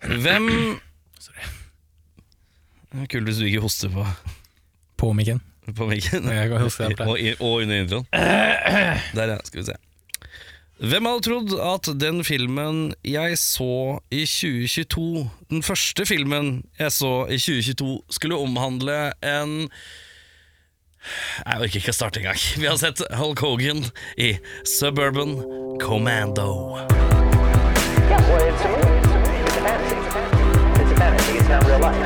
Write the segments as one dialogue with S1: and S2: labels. S1: Hvem Sorry. Kult hvis du ikke hoster på,
S2: På mikken.
S1: på mikken.
S2: Jeg kan huske det.
S1: Og, i- og under introen. Der, ja. Skal vi se. Hvem hadde trodd at den filmen jeg så i 2022, den første filmen jeg så i 2022, skulle omhandle en Jeg orker ikke å starte engang. Vi har sett Hulk Hogan i Suburban Commando.
S3: Yeah, well, it's a movie. It's a movie. It's a fantasy. It's a fantasy. It's not real life.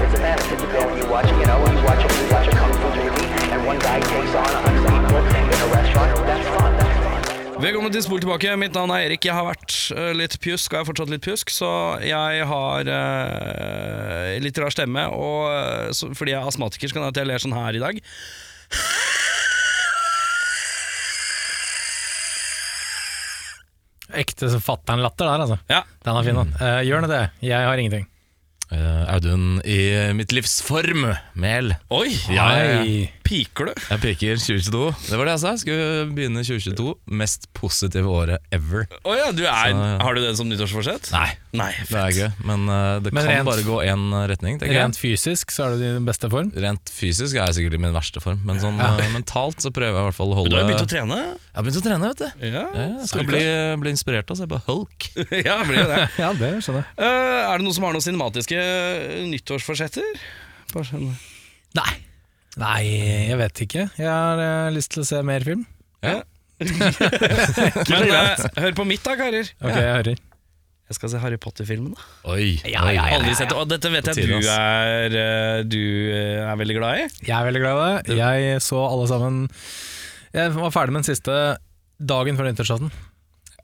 S3: It's a fantasy. You go and you watch, you know, you watch, you watch a kung fu movie, and one guy takes on a hundred people in a restaurant. That's fun. That's fun.
S1: Velkommen til Spol tilbake. Mitt navn er Erik. Jeg har vært eh, litt pjusk, og jeg er fortsatt litt pjusk, så jeg har eh, litt rar stemme. Og eh, så, fordi jeg er astmatiker, så kan det hende at jeg ler sånn her i dag.
S2: Ekte fatter'n-latter der, altså.
S1: Ja,
S2: Den er fin, den.
S1: Mm.
S2: Uh, Gjør nå det. Jeg har ingenting.
S4: Eh, Audun i mitt livs form, Mel.
S1: Oi!
S4: Ja, ja, ja.
S2: Hei.
S1: Piker du?
S4: Jeg peker 2022. Det var det jeg sa. Jeg Skulle begynne 2022. Mest positive året ever.
S1: Å ja, du er,
S4: Så, ja.
S1: har du det som nyttårsforsett?
S4: Nei,
S1: Nei,
S4: det er jeg ikke. Men eh, det
S2: Men
S4: kan
S2: rent-
S4: bare gå én eh, retning. tenker
S2: Rent fysisk så er du i den beste form.
S4: jeg Rent fysisk er jeg sikkert i min verste form, men sånn eh, mentalt så prøver jeg i hvert fall å
S1: Men
S4: holde
S1: Du har jo begynt å trene?
S4: Jeg har begynt å trene, vet du.
S1: Ja,
S4: Ja, jeg skal bli, bli inspirert av å se på Hulk.
S1: ja blir jo det.
S2: Ja, det skjønner jeg.
S1: Eh, er det noen som har noen cinematiske eh, nyttårsforsetter? Bare sånn.
S2: Nei. Nei, jeg vet ikke. Jeg har eh, lyst til å se mer film.
S1: Men eh, hør på mitt da, karer.
S2: Ok, jeg hører.
S1: Jeg skal se Harry Potter-filmen, da.
S4: Oi, oi.
S1: Aldri sett det. Og dette vet
S4: På
S1: jeg
S4: tide,
S1: du er, eh, du eh, er veldig glad i.
S2: Jeg er veldig glad i det. Jeg så alle sammen Jeg var ferdig med den siste dagen før nyttårsaften.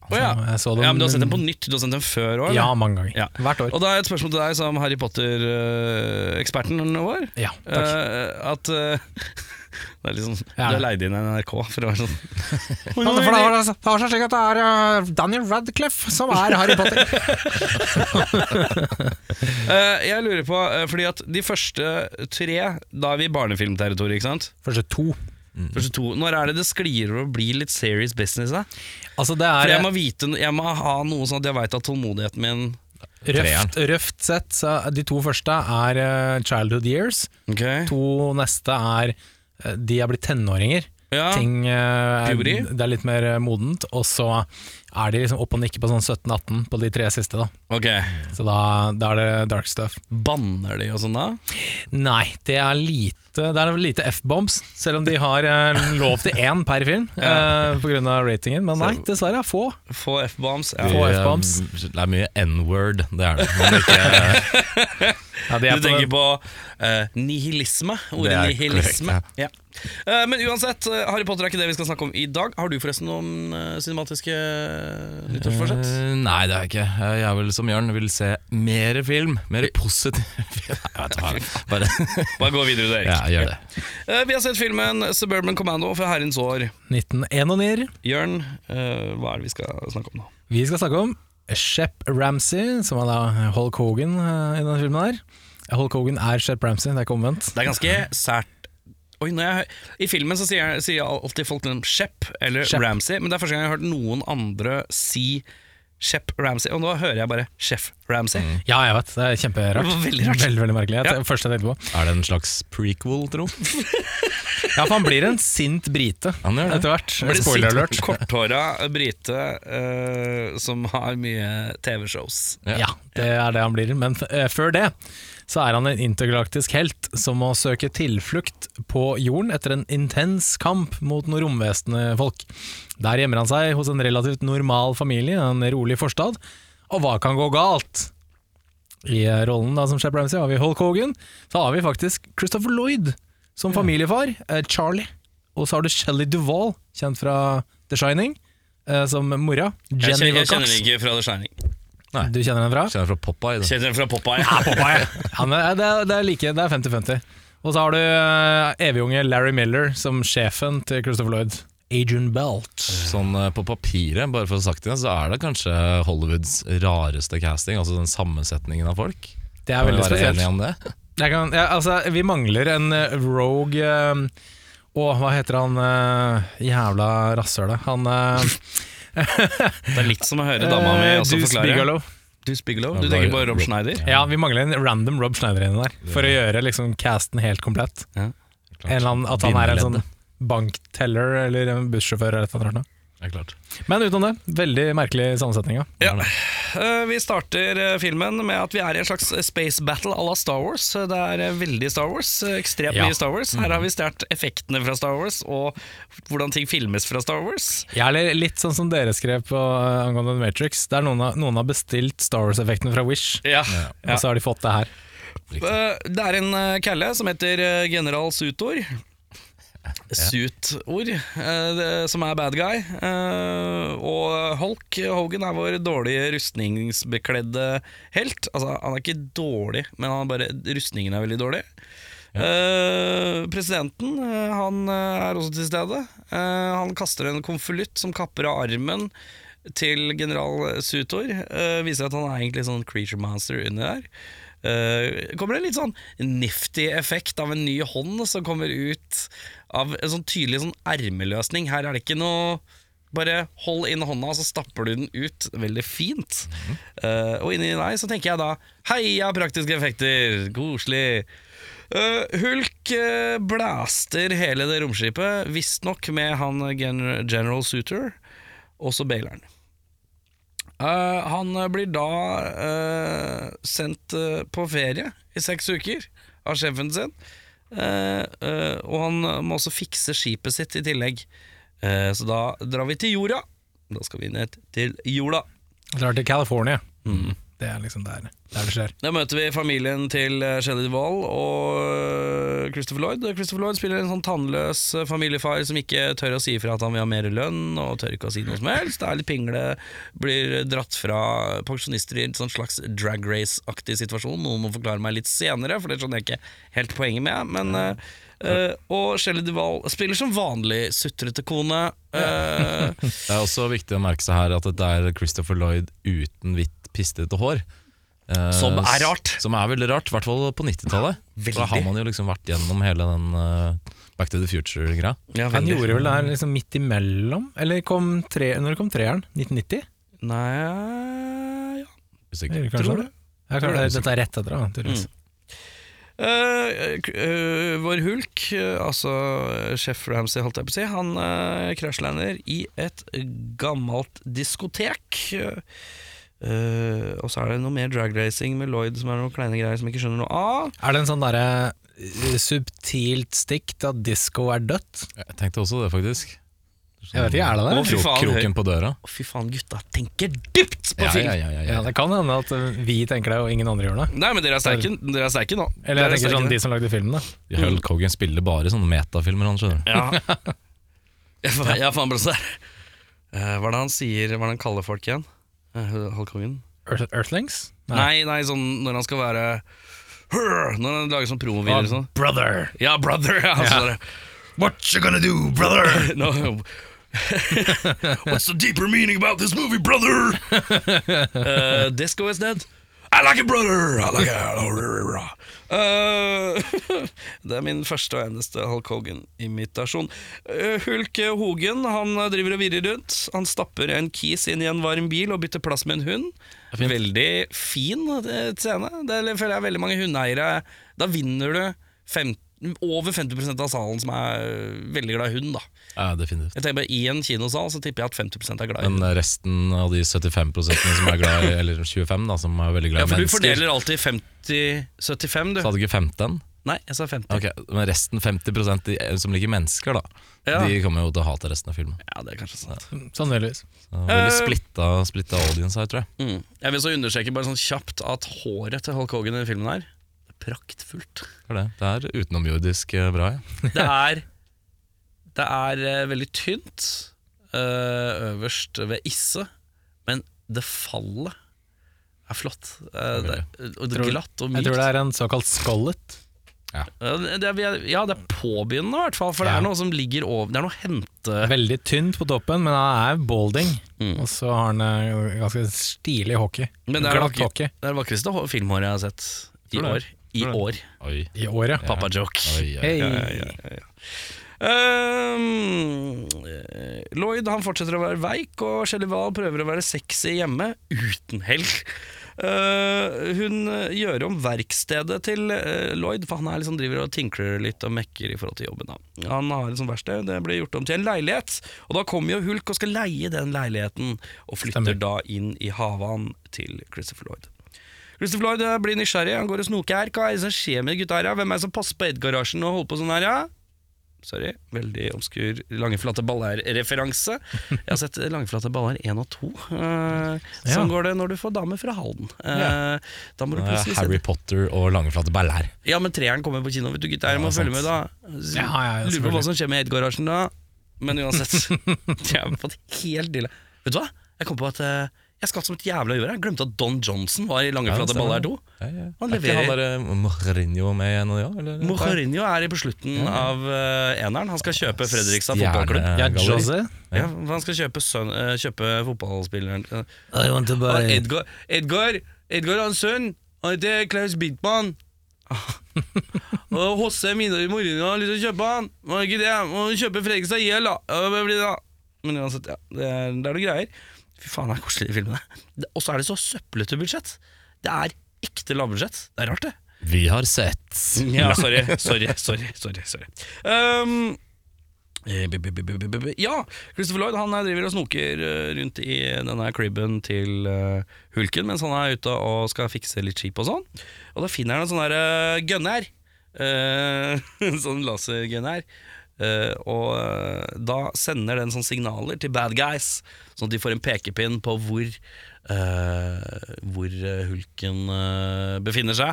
S1: Å ja.
S2: Jeg så den-
S1: ja, men Du har sett den på nytt, du har sett den før òg?
S2: Ja, mange ganger.
S1: Ja.
S2: Hvert år.
S1: Og da er et spørsmål til deg som Harry Potter-eksperten vår.
S2: Ja, takk.
S1: Eh, at eh, Det er liksom
S2: Ja.
S1: Du er leid inn i NRK for å være sånn
S2: Ja, Altså, for
S1: eh,
S2: det var, det var så slik at det er eh, Daniel Radcliffe som er Harry Potter.
S1: Eh, Jeg lurer på, eh, fordi at de første tre Da er vi i barnefilmterritoriet, ikke sant?
S2: Første to. Mm.
S1: Første to Når er det det sklir over å bli litt serious business? Da?
S2: Altså, det
S1: For
S2: er
S1: jeg må vite Jeg må ha noe sånn at jeg veit at tålmodigheten min
S2: eh, Røft, røft sett, så de to første er eh, Childhood Years.
S1: Ok.
S2: To neste er eh, De er blitt tenåringer.
S1: ja.
S2: Ting eh, er,
S1: Ah. Puberty.
S2: Det er litt mer eh, modent. Og så er de liksom opp og nikker på sånn 17-18 på de tre siste. da
S1: ok
S2: Så da, da er det dark stuff.
S1: Banner de og sånn da?
S2: Nei, det er lite Det er lite F-bombs, selv om de har eh, lov til én per film eh, På grunn av ratingen. Men nei, dessverere er få.
S1: Få F-bombs? Ja.
S2: Få
S4: Vi, eh,
S2: F-bombs.
S4: Det er mye N-word, det er det. Men ikke,
S2: Ja, de er
S1: Du
S2: på-
S1: tenker på eh, nihilisme. Ordet
S4: Det er
S1: nihilisme.
S4: korrekt,
S1: ja. Eh, men uansett, eh, Harry Potter er ikke det vi skal snakke om i dag. Har du forresten noen eh, cinematiske nyttårsforsett?
S4: Eh, nei, det er jeg ikke. Eh, Jeg er vel som Jørn, vil se mer film. Mer positiv film. Nei, vet du hva. Bare
S1: Bare gå videre, du, Erik.
S4: ja, gjør det.
S1: Eh, vi har sett filmen Suburban Commando fra herrens år.
S2: 1991.
S1: Jørn, eh, hva er det vi skal snakke om nå?
S2: Vi skal snakke om Shep Ramsey, som er da Hulk Hogan eh, i denne filmen her. Hulk Hogan er Shep Ramsey, det er ikke omvendt.
S1: Det er ganske sært. Oi, når jeg, I filmen så sier, jeg, sier jeg alltid folk mellom Shep eller
S2: Shep.
S1: Ramsay, men det er første gang jeg har hørt noen andre si Shep Ramsay, og nå hører jeg bare Chef Ramsay.
S2: Ja, jeg vet, det er kjemperart.
S1: Det var veldig rart.
S2: Veldig, veldig merkelig. Det
S1: Ja.
S2: er det første jeg tenkte på.
S4: Er det en slags prequel, tro?
S2: Ja, for han blir en sint brite
S4: Han gjør det.
S2: etter hvert.
S1: Blir det
S2: Spoiler
S1: sint
S2: alert.
S1: Korthåra brite eh, som har mye TV-shows.
S2: Ja, det er det han blir. Men eh, før det så er han en intergalaktisk helt som må søke tilflukt på jorden etter en intens kamp mot noen romvesenfolk. folk. Der gjemmer han seg hos en relativt normal familie, en rolig forstad. Og hva kan gå galt? I eh, rollen da som Shep Ramsey har vi Hulk Hogan. Så har vi faktisk Christopher Lloyd som familiefar. eh, Charlie. Og så har du Shelly Duvall, kjent fra The Shining, eh, som mora.
S1: Jeg
S2: Jenny
S1: kjenner, jeg kjenner
S2: Wilcox.
S1: den ikke fra The Shining.
S2: Du kjenner henne fra?
S4: Kjenner fra Popeye. Det.
S1: Kjenner den fra Popeye.
S2: Ja, men eh, det, er- det er like, det er 50-50. Og så har du eh, evigunge Larry Miller som sjefen til Christopher Lloyd. Adrian Belt.
S4: Sånn eh, på papiret, bare for å ha sagt det, så er det kanskje Hollywoods rareste casting. Altså den sammensetningen av folk.
S2: Det er
S4: Kan vi
S2: veldig
S4: være enige
S2: spesielt.
S4: om det?
S2: Jeg kan, ja, altså, vi mangler en eh, rogue eh, Å, hva heter han eh, jævla rasshølet? Han eh,
S1: Det er litt som å høre dama mi
S2: eh,
S1: også
S2: Deuce
S1: forklare.
S2: Bigelow.
S1: Deuce Bigelow?
S4: Ja,
S1: Du
S4: bare-
S1: tenker på Rob
S4: Rob-
S1: Schneider?
S2: Ja, vi mangler en random Rob Schneider inne der, for å gjøre liksom casten helt komplett.
S1: Ja.
S2: En eller annen, at han er en sånn bankteller eller en bussjåfør eller et eller annet.
S4: Ja, klart.
S2: Men utenom det, veldig merkelig sammensetning. Ja.
S1: Ja. Eh, Vi starter eh, filmen med at vi er i en slags space battle à la Star Wars. Eh, Det er eh, veldig Star Wars. eh, Ekstremt
S2: Ja.
S1: mye Star Wars. Her har vi stjålet effektene fra Star Wars, og hvordan ting filmes fra Star Wars.
S2: Ja, eller litt sånn som dere skrev på eh, angående Matrix, der noen har, noen har bestilt Star Wars-effekten fra Wish,
S1: Ja.
S2: og så har de fått det her.
S1: Eh, Det er en eh, kalle som heter eh, General Sutor. Sutor, eh, det- som er bad guy. Eh, Og Holk Hogan er vår dårlige rustningsbekledde helt. Altså, han er ikke dårlig, men han er bare, rustningen er veldig dårlig. Eh, presidenten eh, han eh, er også til stede. Eh, han kaster en konvolutt som kapper av armen til general Sutor. Eh, viser at han er egentlig sånn creature master under der. Eh, kommer det en litt sånn nifty effekt av en ny hånd som kommer ut av en sånn tydelig sånn ermeløsning. Her er det ikke noe bare hold inn hånda, så stapper du den ut. Veldig fint. Eh, og inni deg så tenker jeg da Heia praktiske effekter! Koselig! Eh, Hulk eh, blaster hele det romskipet, visstnok med han eh, gen General Suter, og så baileren. Eh, han eh, blir da eh, sendt eh, på ferie i seks uker av sjefen sin. Eh, eh, og han må også fikse skipet sitt i tillegg. Eh, så da drar vi til jorda. Da skal vi ned til jorda.
S2: Drar til California.
S1: Mm.
S2: Det er liksom der, der det skjer.
S1: Da møter vi familien til eh, Shelley Duvall og eh, Christopher Lloyd. Christopher Lloyd spiller en sånn tannløs eh, familiefar som ikke tør å si ifra at han vil ha mer lønn, og tør ikke å si noe som helst. Det er litt pingle, blir dratt fra pensjonister i en sånn slags drag race-aktig situasjon. Noen må forklare meg litt senere, for det skjønner jeg ikke helt poenget med. Men, eh, eh, og Shelley Duvall spiller som vanlig sutrete kone. eh,
S4: Det er også viktig å merke seg her at det er Christopher Lloyd uten hvitt, pistete hår. Eh,
S1: Som er rart.
S4: Som er veldig rart, i hvert fall på 90-tallet.
S1: Veldig.
S4: Da har man jo liksom vært gjennom hele den eh, Back to the Future-greia.
S1: ja,
S2: Han
S1: veldig.
S2: gjorde vel det her liksom midt imellom, eller kom tre, når det kom treeren? 1990?
S1: Nei ja.
S4: Usikker.
S2: Kanskje det? Ja, kanskje det- Dette er rett etter, da, tydeligvis.
S1: Mm. Eh, k- eh, vår Hulk, eh, altså eh, Chef Ramsay, holdt jeg på å si, han eh, krasjlander i et gammelt diskotek. Eh, eh, og så er det noe mer dragracing med Lloyd som er noen kleine greier som jeg ikke skjønner noe av.
S2: Er det en sånn derre eh, subtilt stikk til at disko er dødt?
S4: Jeg tenkte også det, faktisk.
S2: Jeg vet ikke, er det
S1: Å,
S2: det?
S1: fy
S4: Krok,
S1: faen, høy.
S4: kroken på døra.
S1: Å, fy faen, gutta tenker dypt på
S4: Ja,
S1: film!
S4: ja, ja, ja,
S2: Ja,
S4: ja.
S2: det kan hende at eh, vi tenker det, og ingen andre gjør det.
S1: Nei, men dere er sterke, dere er sterke nå. Dere
S2: Eller jeg
S1: er
S2: tenker
S1: sterke.
S2: sånn de som lagde filmen, da.
S4: Hulk Hogan spiller bare sånne metafilmer, han skjønner du.
S1: Ja. Jeg fa- jeg faen ble sånn der. Eh, hva er det han sier, hva er det han kaller folk igjen? Uh, Hulk Hogan?
S2: Earth, Earthlings?
S1: Nei, nei, sånn når han skal være Hør! Når han lager sånn
S2: Ah,
S1: promovideoer og sånn.
S2: brother!
S1: Ja, brother! Ja, sånn der.
S2: What you gonna do, brother?
S1: no. What's the deeper meaning about this movie, brother? Eh, disco is dead. I like it, brother! I like it. Eh, det er min første og eneste Hulk Hogan-imitasjon. Eh, Hulk Hogan han driver og virrer rundt. Han stapper en kis inn i en varm bil og bytter plass med en hund. Veldig fin eh, scene. Det er- føler jeg er veldig mange hundeeiere Da vinner du fem, over 50 av salen som er eh, veldig glad i hund. da
S4: Ja, definitivt.
S1: jeg tenker bare I en kinosal så tipper jeg at 50 er glad i
S4: Men
S1: hund. resten
S4: resten av de 75 som er glad i, eller 25 da, som er veldig glad
S1: Ja,
S4: i
S1: for du
S4: eh, mennesker,
S1: fordeler alltid 50-75, du.
S4: så hadde du ikke 15.
S1: Nei, jeg sa 50.
S4: Ok, Men resten 50 de, eh, som liker mennesker, da,
S1: Ja.
S4: de kommer jo til å hate resten av filmen.
S1: Ja, det er kanskje sant.
S2: Sannsynligvis.
S4: Så
S1: Eh.
S4: Veldig splitta, splitta audience her, tror jeg.
S1: Mm. Jeg vil så understreke bare sånn kjapt at håret til Hulk Hogan i denne filmen her er praktfullt.
S4: Det er, det. Det er utenomjordisk eh, bra. Ja.
S1: Det er, det er eh, veldig tynt eh, øverst ved isse, men det fallet er flott. Eh, det er, og det er
S2: Tror-
S1: glatt og
S2: Jeg tror det
S1: mykt.
S2: er en såkalt skollet.
S1: Ja, det er, ja, det er påbegynnende i hvert fall, for det
S2: Ja.
S1: er noe som ligger over Det er noe å hente
S2: Veldig tynt på toppen, men han er balding.
S1: Mm.
S2: Og så har han eh, ganske stilig hockey.
S1: Men det er
S2: Glatt
S1: nok-
S2: hockey.
S1: Det er det vakreste hå- filmhåret jeg har sett i
S4: Tror det.
S1: år. I
S4: Tror det.
S1: år.
S4: Oi,
S2: I året. Ja.
S1: Pappa-joke.
S4: oi, oi.
S2: Hei.
S1: Ehm, eh, Lloyd han fortsetter å være veik, og Shelley Wahl prøver å være sexy hjemme, uten hell. Eh, hun eh, gjør om verkstedet til eh, Lloyd, for han er liksom driver og tinkler litt og mekker i forhold til jobben. Da. Han har et sånt verksted, det blir gjort om til en leilighet, og da kommer jo Hulk og skal leie den leiligheten, og flytter
S2: Stemmer.
S1: da inn i havan til Christopher Lloyd. Christopher Lloyd eh, blir nysgjerrig, han går og snoker her. Hva er det som skjer med de gutta her? ja? Hvem er det som passer på Ed-garasjen og holder på sånn her? ja? Sorry, veldig obskur lange flate baller-referanse. Jeg har sett lange flate baller én og to. Eh, Sånn
S2: Ja.
S1: går det når du får dame fra Halden. Eh, Da må du
S4: Eh,
S1: plutselig se
S4: Harry
S1: det.
S4: Potter og langeflate baller.
S1: Ja, men treeren kommer på kino, vet du gutter. Jeg må
S4: Ja, sant.
S1: følge med, da.
S2: Ja, ja,
S1: Lurer
S2: ja,
S1: på hva
S2: selvfølgelig.
S1: som skjer med Edgarasjen da. Men uansett, jeg har fått helt dille. Vet du hva? Jeg kom på at eh, jeg skvatt som et jævla uvær. Jeg glemte at Don Johnson var i lange
S4: Ja, det
S1: flate baller
S4: stemmer.
S1: 2.
S4: Ja, ja.
S1: Han
S4: Er ikke
S1: leverer.
S4: han der eh, Mourinho med igjen nå, ja? eller?
S1: Mourinho er i på slutten av eh, eneren. Han skal kjøpe Fredrikstad
S4: Stjerne-
S1: fotballklubb.
S2: Ja,
S4: galleri.
S2: Jose.
S1: Ja, for han skal kjøpe, sønn, eh, kjøpe fotballspilleren
S2: I want to
S1: Og Edgar, Edgar, Edgar har en sønn. Han heter Klaus Bittmann. Og Hosse Middag i morgen har lyst til å kjøpe han. Må ikke det, må kjøpe Fredrikstad IL, da. Ja, det blir det, da. Men uansett, ja. Det er, det er noen greier. Fy faen, det er koselig i filmene. Det- Og så er det så søplete budsjett. Det er ekte lavbudsjett. Det er rart, det.
S4: Vi har sett.
S1: Ja, sorry, sorry, sorry, sorry, sorry. Um, eh, b- b- b- b- b- b- ja, Christopher Lloyd han er- driver og snoker eh, rundt i denne cribben til eh, Hulken mens han er ute og skal fikse litt skip og sånn. Og da finner han en sånn der uh, gunner. Eh, En sånn lasergunner. Eh, og eh, da sender den sånn signaler til bad guys, sånn at de får en pekepinn på hvor eh, Hvor eh, hulken eh, befinner seg.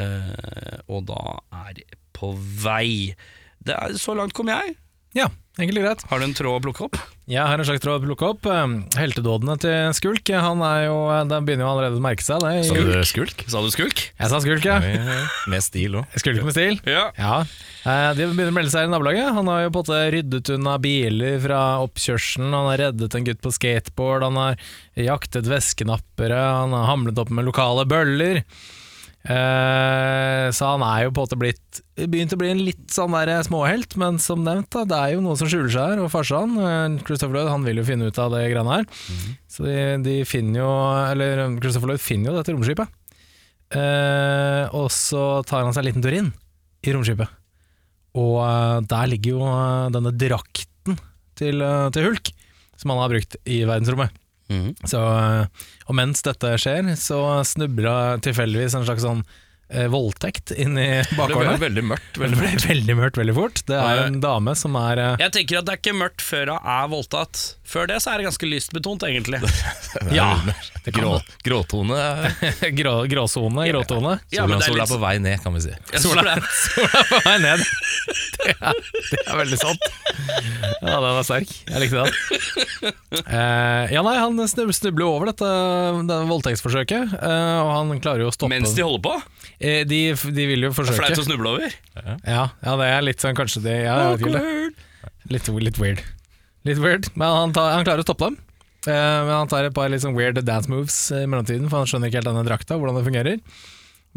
S1: Eh, og da er på vei. Det er, så langt kom jeg.
S2: Ja, egentlig greit.
S1: Har du en tråd å plukke opp?
S2: Jeg har en slags tråd å plukke opp. Um, Heltedådene til Skulk, han er jo, den begynner jo allerede å merke seg det.
S4: Sa du eh, skulk?
S1: Sa du skulk?
S2: Jeg sa Skulk, ja.
S4: Med stil òg.
S2: Skulk med stil.
S1: Ja.
S2: Ja, eh, De begynner å melde seg i nabolaget. Han har jo på en måte ryddet unna biler fra oppkjørselen, han har reddet en gutt på skateboard, han har jaktet veskenappere, han har hamlet opp med lokale bøller. Eh, så han er jo på en måte blitt begynt å bli en litt sånn der småhelt, men som nevnt, da, det er jo noe som skjuler seg her. Og farsan, eh, Christopher Lloyd, han vil jo finne ut av det greiene her. Så de, de finner jo Eller Christopher Lloyd finner jo dette romskipet. Eh, og så tar han seg en liten tur inn i romskipet. Og eh, der ligger jo eh, denne drakten til, eh, til Hulk, som han har brukt i verdensrommet.
S1: Mhm.
S2: Så, eh, og mens dette skjer, så snubler det tilfeldigvis en slags sånn eh, voldtekt inn i
S4: Det ble
S2: bakgården. her.
S4: veldig mørkt.
S2: Det ble veldig mørkt veldig fort. Det er en dame som er eh,
S1: Jeg tenker at det er ikke mørkt før hun er voldtatt. Før det så er det ganske lystbetont, egentlig.
S2: Ja! Det kan,
S4: Grå, gråtone. eh,
S2: grå, gråsone, gråtone.
S1: Ja, men det
S4: Sola,
S1: er
S4: sola
S1: litt-
S4: er på vei ned, kan vi si.
S1: Jeg tror det Sånn er-
S2: Sola på vei ned. Det er, det er veldig sant. Ja, den er sterk. Jeg likte den. Eh, ja, nei, han snub, snubler jo over dette, dette voldtektsforsøket, eh, og han klarer jo å stoppe
S1: Mens de holder på?
S2: Eh, de, de vil jo
S1: Det er flaut å
S2: forsøke.
S1: snuble over.
S2: Ja, ja, det er litt sånn kanskje det ja, jeg vet ikke det. Litt, litt weird. Litt weird, men han, tar, han klarer å stoppe dem. Eh, men han tar et par litt sånn weird dance moves i mellomtiden, for han skjønner ikke helt denne drakta, hvordan det fungerer.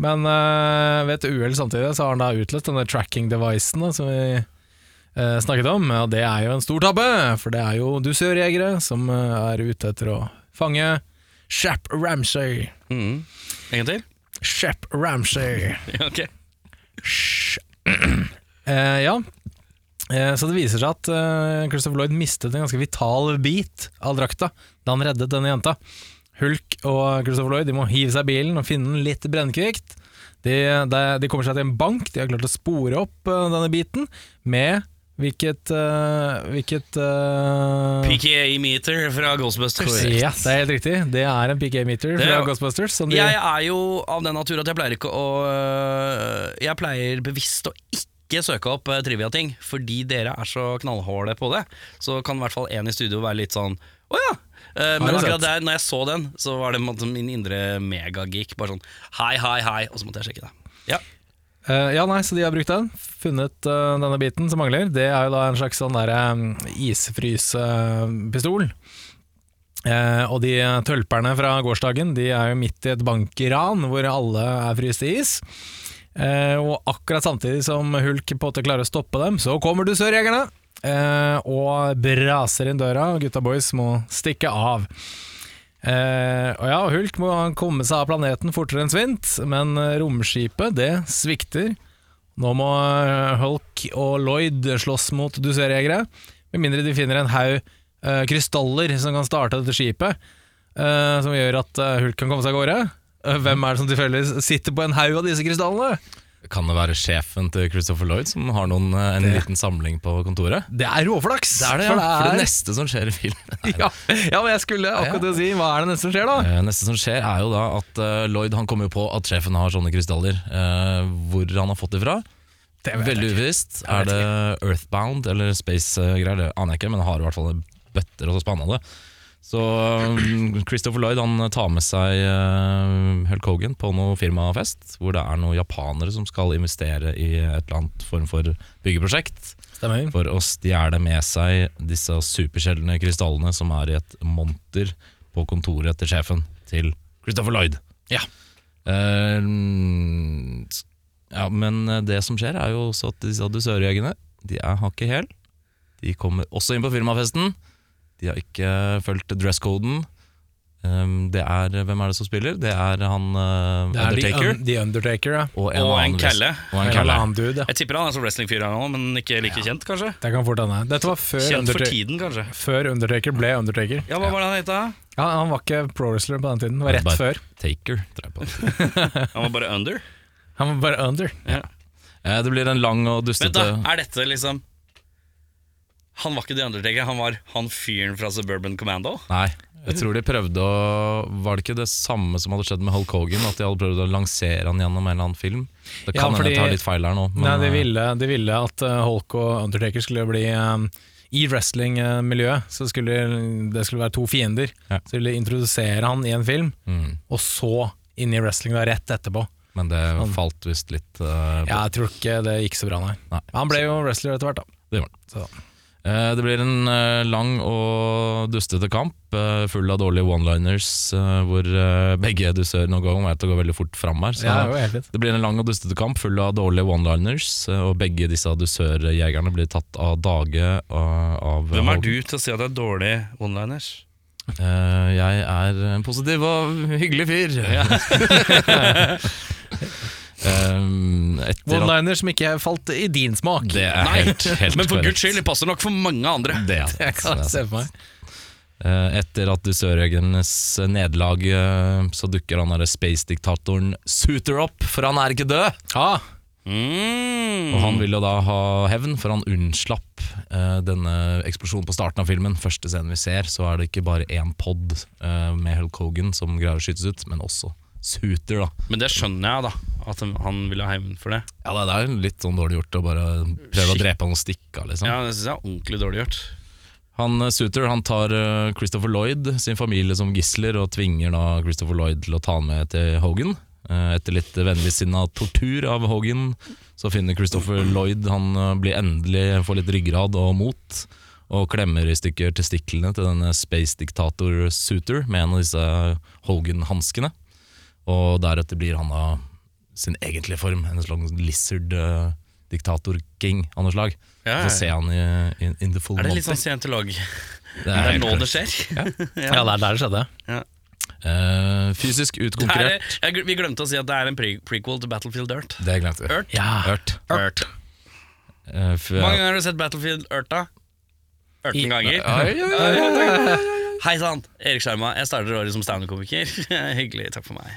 S2: Men eh, ved et uhell samtidig så har han da utløst denne tracking devicen da, som vi eh, snakket om, og det er jo en stor tabbe, for det er jo dusørjegere som eh, er ute etter å fange Shap Ramsay.
S1: Mhm. En gang til?
S2: Shap Ramsay.
S1: Ja, ok.
S2: Eh, ja. Eh, så det viser seg at eh, Christopher Lloyd mistet en ganske vital bit av drakta da han reddet denne jenta. Hulk og Christopher Lloyd de må hive seg i bilen og finne den litt brennkvikt. De, de, de kommer seg til en bank, de har klart å spore opp eh, denne biten med hvilket eh, Hvilket eh,
S1: PKA meter fra Ghostbusters.
S2: Ja, det er helt riktig. Det er en PK-meter
S1: Det
S2: fra
S1: er-
S2: Ghostbusters. Som de,
S1: Jeg er jo av den natur at jeg pleier ikke å øh, Jeg pleier bevisst å ikke søke opp øh, trivia-ting, fordi dere er så knallharde på det. Så kan i hvert fall én i studio være litt sånn Å ja! Eh, men
S2: du
S1: akkurat
S2: sett?
S1: der, når jeg så den, så var det på en måte min indre megageek. Bare sånn hei, hei, hei, og så måtte jeg sjekke det. Ja.
S2: Eh, ja, nei, så de har brukt den. Funnet eh, denne biten som mangler. Det er jo da en slags sånn derre isfrysepistol. Eh, og de tølperne fra gårsdagen De er jo midt i et bankran hvor alle er fryst i is. Eh, og akkurat samtidig som Hulk på en måte klarer å stoppe dem, så kommer dusørjegerne eh, og braser inn døra, og gutta boys må stikke av. Eh, og ja, Hulk må han komme seg av planeten fortere enn svint, men eh, romskipet det svikter. Nå må eh, Hulk og Lloyd slåss mot duserjegere, med mindre de finner en haug eh, krystaller som kan starte dette skipet, eh, som gjør at eh, Hulk kan komme seg av gårde. Eh, Hvem er det som tilfeldigvis sitter på en haug av disse krystallene?
S4: Kan det være sjefen til Christopher Lloyd som har noen, eh, en liten samling på kontoret?
S2: Det er råflaks!
S4: Det er det, ja. For det neste som skjer i filmen Nei,
S2: ja, ja, men jeg skulle akkurat til å si Hva er det neste som skjer, da?
S4: Eh, Neste som skjer er jo da at eh, Lloyd han kommer jo på at sjefen har sånne krystaller. eh, hvor han har fått det fra. Veldig uvisst. Er det Earthbound eller space-greier? Det aner jeg ikke, men han har i hvert fall bøtter og så spann av det. Så um, Christopher Lloyd han tar med seg eh, Hulk Hogan på noe firmafest, hvor det er noen japanere som skal investere i et eller annet form for byggeprosjekt.
S2: Stemmer.
S4: For å stjele med seg disse supersjeldne krystallene som er i et monter på kontoret til sjefen til Christopher Lloyd.
S2: Ja.
S4: Eh, sk- ja, men det som skjer, er jo også at disse dusørjegerne De er hakket hæl. De kommer også inn på firmafesten. De har ikke fulgt dresscoden. Eh, det er, hvem er det som spiller? Det er han eh,
S2: Det er
S4: Undertaker.
S2: The, Un The Undertaker, ja.
S4: og
S1: Og en
S4: annen wrest-
S1: kelle.
S4: Og en
S2: En
S4: kelle.
S2: eller annen dude, ja.
S1: Jeg tipper han er som wrestlingfyr, han òg, men ikke like kjent, kanskje.
S2: Det kan fort hende. Dette var før,
S1: Kjent for
S2: Underta-
S1: tiden, kanskje.
S2: før Undertaker ble Undertaker.
S1: Ja, Hva var det han het, da?
S2: Ja, han var ikke pro-wrestler på den tiden. Det var rett
S4: Bare-
S2: før.
S4: Taker, tror jeg på.
S1: Han var bare under.
S2: Han var bare under.
S4: Eh, det blir en lang
S1: Vent,
S4: og dustete
S1: da. Er dette liksom Han var ikke The Undertaker, han var han fyren fra Suburban Commando?
S4: Nei, jeg tror de prøvde å Var det ikke det samme som hadde skjedd med Hulk Hogan? At de hadde prøvd å lansere han gjennom en eller annen film? Det
S2: Ja,
S4: kan hende
S2: fordi-
S4: jeg tar litt feil her nå. men,
S2: Nei, de
S4: eh,
S2: ville, de ville at eh, Hulk og Undertaker skulle bli eh, I wrestling-miljøet så skulle det skulle være to fiender.
S4: Ja.
S2: Så ville de introdusere han i en film,
S4: mm,
S2: og så inn i wrestling da, rett etterpå.
S4: men det falt visst litt eh,
S2: Sånn. Ja, jeg tror ikke det gikk så bra, nei.
S4: Nei.
S2: Han ble jo wrestler etter hvert, da.
S4: Det gjorde han.
S2: Så.
S4: Eh, Det blir en eh, lang og dustete kamp, eh, full av dårlige one-liners, eh, hvor eh, begge dusør noen gang vet å gå veldig fort fram her. Så
S2: Ja, det var helt fint.
S4: det blir en lang og dustete kamp, full av dårlige one-liners, eh, og begge disse dusørjegerne blir tatt av dage eh, av
S1: Hvem er du til å si at det er dårlig one-liners?
S4: Eh, jeg er en positiv og hyggelig fyr. um, etter at
S2: One-liner som ikke falt i din smak.
S4: Det er helt, helt
S1: Men for
S4: korrekt.
S1: guds skyld, det passer nok for mange andre.
S4: Det er
S2: Jeg kan
S4: det.
S2: se for meg.
S4: Eh, etter at dusørjegernes nederlag, eh, så dukker han derre space-diktatoren Suter opp, for han er ikke død!
S2: Ja,
S1: Mm.
S4: Og han vil jo da ha hevn, for han unnslapp eh, denne eksplosjonen på starten av filmen. Første scenen vi ser, så er det ikke bare én pod eh, med Hulk Hogan som greier å skytes ut, men også Suter, da.
S1: Men det skjønner jeg, da. At han ville ha hevn for det.
S4: Ja, det det er jo litt sånn dårlig gjort å bare prøve å drepe han og stikke av, liksom.
S1: Ja, Det syns jeg er ordentlig dårlig gjort.
S4: Han eh, Suter han tar eh, Christopher Lloyd, sin familie, som gisler, og tvinger da Christopher Lloyd til å ta han med til Hogan. Eh, Etter litt vennligsinna tortur av Hogan, så finner Christopher Lloyd Han eh, blir endelig får litt ryggrad og mot, og klemmer i stykker testiklene til denne space-diktator Suter med en av disse Hogan-hanskene. Og deretter blir han da sin egentlige form, en slags lizard-diktator-king av noe slag.
S1: Ja, ja.
S4: Får se han i, in, in the full
S1: Er det litt
S4: monty.
S1: sånn scientolog?
S4: Det
S1: Det er
S4: helt
S1: nå det
S4: korrekt.
S1: skjer.
S2: ja det er der det skjedde.
S4: Eh, fysisk
S1: Det er,
S4: utkonkurrert.
S1: jeg, gl- vi glemte å si at det er en pre prequel til Battlefield Dirt.
S4: Det glemte vi.
S1: Urt.
S2: Ja.
S4: Ørt.
S1: Urt.
S4: Eh, f-
S1: Hvor mange ganger har du sett Battlefield Urt, da? 18 ganger.
S4: Oi, oi, oi.
S1: Hei sann, Erik Skjerma. Jeg starter året som standup-komiker. Hyggelig. Takk for meg.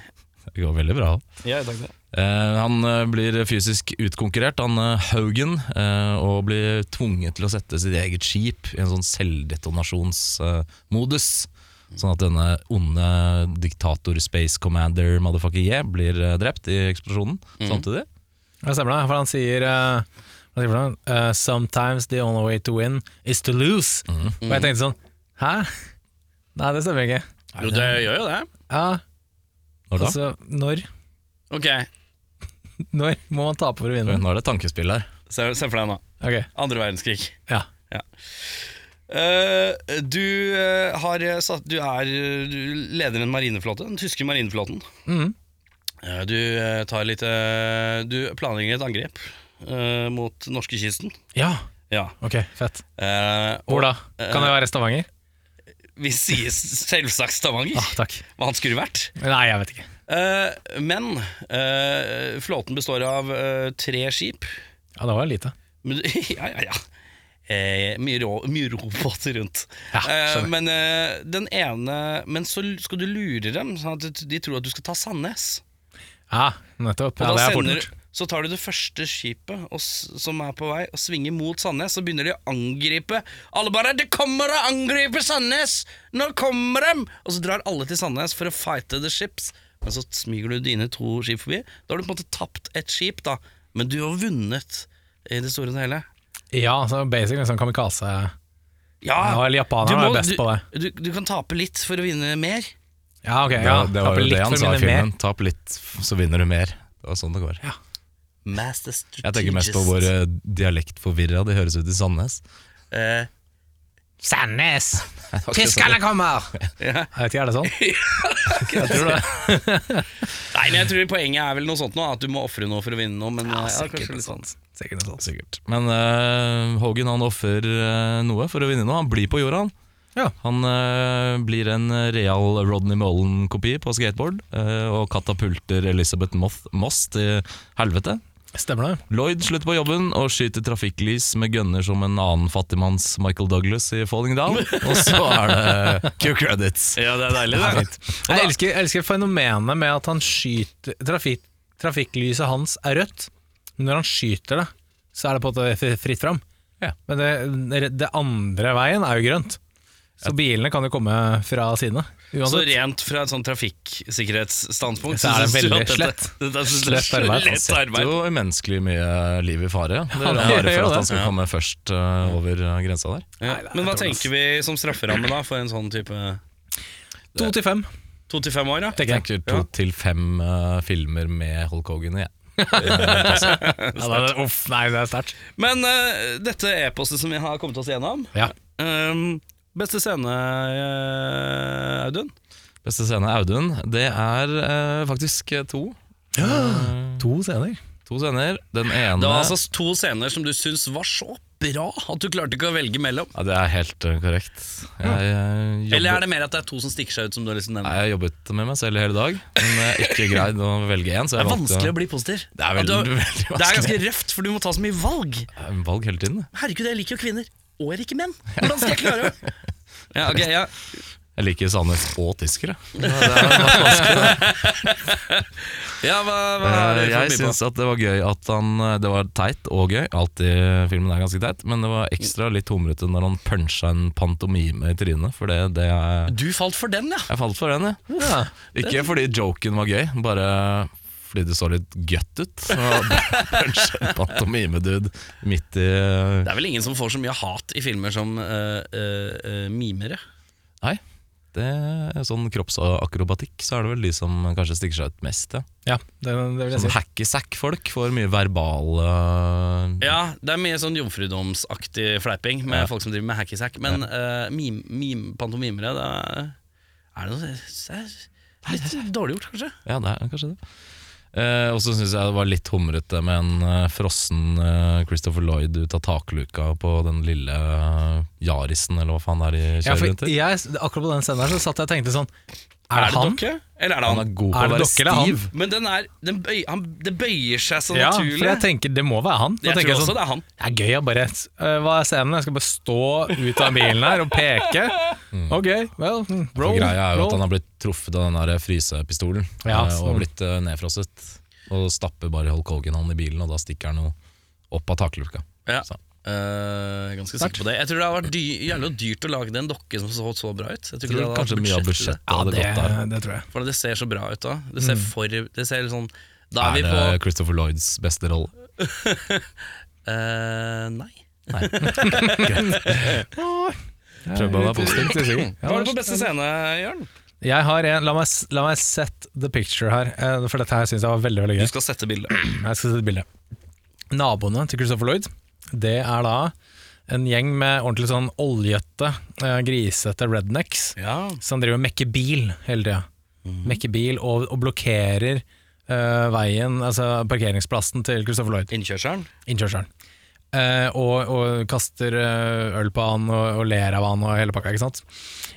S4: Det går veldig bra. Eh, han eh, blir fysisk utkonkurrert, han eh, Haugen, eh, og blir tvunget til å sette sitt eget skip i en sånn selvdetonasjonsmodus. sånn at denne onde diktator Space Commander motherfucker Ye blir eh, drept i eksplosjonen
S1: Mhm.
S4: samtidig.
S2: Det stemmer, det, for han sier eh, hva sier han? Eh, Sometimes the only way to win is to lose.
S4: Mhm.
S2: Og jeg tenkte sånn Hæ? Nei, det stemmer ikke.
S1: Jo, det gjør jo det.
S2: Ja,
S4: Når da?
S2: altså, når,
S1: Ok,
S2: når må man tape for å vinne?
S4: Nå er det et tankespill her.
S1: se, se for deg nå.
S2: Ok,
S1: Andre verdenskrig.
S2: ja.
S1: Eh, du, eh, har satt, du er eh, du leder en marineflåte, den tyske marineflåten.
S2: Mhm.
S1: Eh, du, eh, tar litt, eh, du planlegger et angrep eh, mot norskekysten.
S2: Ja,
S1: Ja.
S2: ok, fett.
S1: Eh, og-
S2: Hvor da? Kan det være Stavanger?
S1: Vi sier selvsagt
S4: Eh,
S1: Stavanger,
S2: Ah, takk.
S1: hva han skulle vært.
S2: Nei, jeg vet ikke.
S1: Eh, men eh, flåten består av eh, tre skip.
S2: Ja, det var lite.
S1: Men, ja, ja, ja. Eh, mye, rå, mye robåter rundt.
S2: Ja,
S1: Eh,
S2: skjønner.
S1: men eh, den ene Men så l- skal du lure dem, sånn at de tror at du skal ta Sandnes.
S2: Ja,
S1: Og
S2: nettopp. Ja, det
S1: da
S2: er fort
S1: sender,
S2: gjort.
S1: så tar du det første skipet og, s- som er på vei, og svinger mot Sandnes. Så begynner de å angripe. Alle bare 'Det kommer å angripe Sandnes! Nå kommer dem!' Og så drar alle til Sandnes for å fighte the ships. Men så smyger du dine to skip forbi. Da har du på en måte tapt ett skip, da. Men du har vunnet i det store og hele.
S2: Ja, så basically sånn kamikaze
S4: Ah.
S1: Ja,
S2: Ja, eller japanerne
S1: du
S2: er best
S1: du,
S2: på
S1: Du, du kan tape litt for å vinne mer.
S2: Ja, ok.
S4: Det,
S2: Ja,
S4: det var
S2: Taper
S4: jo
S2: litt
S4: det han
S2: for
S4: sa i
S2: mine
S4: filmen.
S2: mer.
S4: Tap litt, f- så vinner du mer. Det var sånn det går.
S1: Master
S4: Jeg tenker mest på hvor eh, dialektforvirra det høres ut i Sandnes.
S1: eh,
S2: Sandnes!
S4: ikke sånn.
S2: Tyskerne kommer! Jeg vet ikke, er det sånn? Jeg tror det.
S1: Nei, men jeg tror poenget er vel noe sånt nå, at du må ofre noe for å vinne noe. Men, ja, kanskje litt sånn.
S2: Sikkert noe sånt.
S4: Sikkert. Men eh, Hogan han offer eh, noe for å vinne noe. Han blir på jorda, han.
S2: Ja.
S4: Han eh, blir en real Rodney Mullen-kopi på skateboard. eh, og katapulter Elizabeth Moth Moss til helvete.
S2: Stemmer det?
S4: Lloyd slutter på jobben og skyter trafikklys med gunner som en annen fattigmanns Michael Douglas i Falling Down. Og så er det Q credits.
S1: sånn. Ja, det er deilig, det.
S2: Jeg elsker, jeg elsker fenomenet med at han skyter trafikk, Trafikklyset hans er rødt, men når han skyter det, så er det på en måte fri- fritt fram.
S4: Ja.
S2: Men det, det andre veien er jo grønt. Så bilene kan jo komme fra sidene.
S1: Så
S2: Uansett.
S1: rent fra et sånn trafikksikkerhetsstandpunkt
S2: Så er det
S1: synes du
S2: veldig
S1: at dette-
S2: slett.
S1: dette er så
S2: Slett arbeid.
S4: Han
S1: Slett
S4: setter
S1: arbeid.
S4: jo umenneskelig mye liv i fare. Det
S2: han
S4: er bare
S2: gjør
S4: for
S2: det.
S4: at han skal komme først eh, over eh, grensa der.
S1: Ja. Men hva tenker vi som strafferamme da for en sånn type
S2: To til fem,
S1: 2-5 år? da?
S2: tenker jeg.
S4: Tenker to til fem eh, filmer med Hulk Hogan i. Ja.
S2: Ja, det er, uff, nei, det er sterkt.
S1: Men eh, dette e-postet som vi har kommet oss gjennom
S2: Ja.
S1: ehm, Beste scene, eh, Audun?
S4: Beste scene, Audun. Det er eh, faktisk eh, to.
S2: To scener.
S4: To scener. Den ene
S1: Det var altså to scener som du syns var så bra at du klarte ikke å velge mellom.
S4: ja, Det er helt eh, korrekt. Jeg, eh, jobber-
S1: Eller er det mer at det er to som stikker seg ut, som du har lyst til å
S4: Nei,
S1: nevne?
S4: jeg har jobbet med meg selv hele dag, men eh, ikke greid å velge én.
S1: Det er vanskelig å bli positiv.
S4: Det
S1: At
S4: er veldig,
S1: du-
S4: veldig
S1: det er
S4: vanskelig.
S1: ganske røft, for du må ta så mye valg.
S4: Valg hele tiden.
S1: Herregud, jeg liker jo kvinner. Og jeg liker menn. Hvordan skal jeg klare det? Ja, ok, ja.
S4: Jeg liker Sandnes og tyskere.
S1: ja, hva, hva er det
S4: Eh,
S1: for
S4: Jeg
S1: mye på?
S4: syns at det var gøy at han eh, Det var teit og gøy. Alltid filmen er ganske teit, men det var ekstra litt humrete når han puncha en pantomime i trynet, for det, det er
S1: Du falt for den, ja.
S4: Jeg falt for den, jeg.
S2: Ja.
S4: Ikke fordi joken var gøy, bare fordi det så litt gøtt ut. Så Punche en pantomime-dude midt i
S1: Det er vel ingen som får så mye hat i filmer som eh, eh, eh, mimere.
S4: Nei. Det er sånn kroppsakrobatikk, så er det vel de som kanskje stikker seg ut mest.
S2: ja,
S4: Ja.
S2: det, det vil jeg
S4: Sånn
S2: si.
S4: hacky-sack-folk får mye eh, verbale
S1: Ja, det er mye sånn jomfrudomsaktig fleiping med folk som driver med hackysack, men eh, mim, mim, pantomimere, det er, er det noe det er Litt dårlig gjort, kanskje?
S4: Ja, det er kanskje det. Eh, og så syns jeg det var litt humrete med en eh, frossen eh, Christopher Lloyd ut av takluka på den lille eh, Yarisen, eller hva faen det er
S2: Ja,
S4: de kjører
S2: for
S4: rundt i.
S2: jeg, akkurat på den scenen her så satt jeg og tenkte sånn Er det han?
S1: dokke, eller er det
S4: Han
S1: han?
S4: er god på
S2: Er
S4: å
S2: det
S4: være
S2: dere eller han?
S4: stiv.
S1: Men den er, den bøy, han, det bøyer seg så
S2: Ja,
S1: naturlig.
S2: for jeg tenker det må være han. Da
S1: Jeg
S2: tenker
S1: tror
S2: sånn,
S1: også det er han.
S2: Det er gøy å bare øh, Hva er scenen? Jeg skal bare stå ut av bilen her og peke. Ok, well, mm,
S4: For
S2: roll.
S4: Greia er jo
S2: roll.
S4: at han har blitt truffet av den der frysepistolen
S2: Ja,
S4: eh, og
S2: sånn.
S4: blitt eh, nedfrosset. Og stapper bare Hulk Hogan han i bilen, og da stikker han jo opp av takluka.
S1: Ja.
S4: Så.
S1: Eh, ganske sikker på det. Jeg tror det har vært dy jævlig dyrt å lage en dokke som så så bra ut. Jeg tror ikke
S4: Jeg
S1: det
S4: tror
S1: hadde
S4: kanskje
S1: vært
S4: mye av
S1: budsjett til det.
S4: budsjettet
S2: ja,
S4: hadde
S2: det,
S4: gått der.
S2: det tror jeg.
S1: For det ser så bra ut da. Det ser for Det ser litt sånn Da er,
S4: Er
S1: vi
S4: det
S1: på
S4: Christopher Lloyds beste rolle?
S1: eh, Nei.
S4: Prøv å være positiv.
S1: Hva var det på beste scene, Jørn?
S2: Jeg har en, la, meg, s- la meg set the picture her, eh, for dette her syns jeg var veldig veldig gøy.
S1: Du skal sette bildet.
S2: Jeg skal se et bilde. Naboene til Christopher Lloyd, det er da en gjeng med ordentlig sånn oljete, eh, grisete rednecks.
S1: Ja.
S2: Så han driver og mekker bil hele tida.
S1: Mhm.
S2: Mekker bil og, og blokkerer eh, veien, altså parkeringsplassen til Christopher Lloyd,
S1: Innkjørselen?
S2: innkjørselen. eh, og, og kaster eh, øl på han og, og ler av han og hele pakka. ikke sant?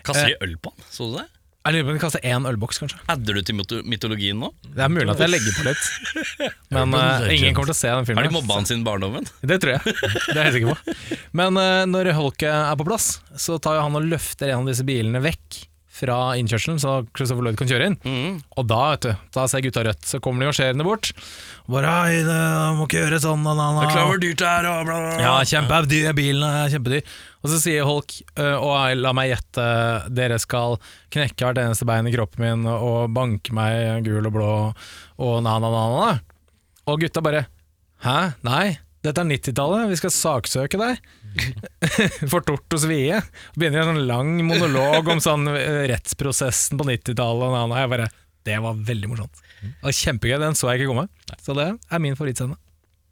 S1: Kaster de
S4: Eh.
S1: øl på han? Så du det?
S2: Jeg lurer på om de kaster én ølboks, kanskje.
S1: Adder du til myto- mytologien nå?
S2: Det er mulig at jeg legger på litt. Men eh, ingen kommer til å se den filmen.
S1: Har de mobba han siden barndommen?
S2: Det tror jeg. Det er jeg sikker på. Men eh, når Holke er på plass, så tar jo han og løfter en av disse bilene vekk fra innkjørselen, så Christopher Lloyd kan kjøre inn.
S1: Mm.
S2: Og da vet du, da ser gutta rødt, så kommer de marsjerende bort. Og bare Hei, det må ikke gjøre sånn, na, na, na.
S1: dyrt det er, og bla, bla,
S2: Ja, kjempedyr, bilen er kjempedyr. Og så sier Holk, øh, og jeg- la meg gjette, dere skal knekke hvert eneste bein i kroppen min og banke meg gul og blå og na-na-na. Og gutta bare Hæ? Nei, dette er 90-tallet, vi skal saksøke deg. For tort og svie. Begynner en sånn lang monolog om sånn øh, rettsprosessen på 90-tallet. og na, na. Jeg bare Det var veldig morsomt. Det var Kjempegøy. Den så jeg ikke komme. Så det er min favorittscene.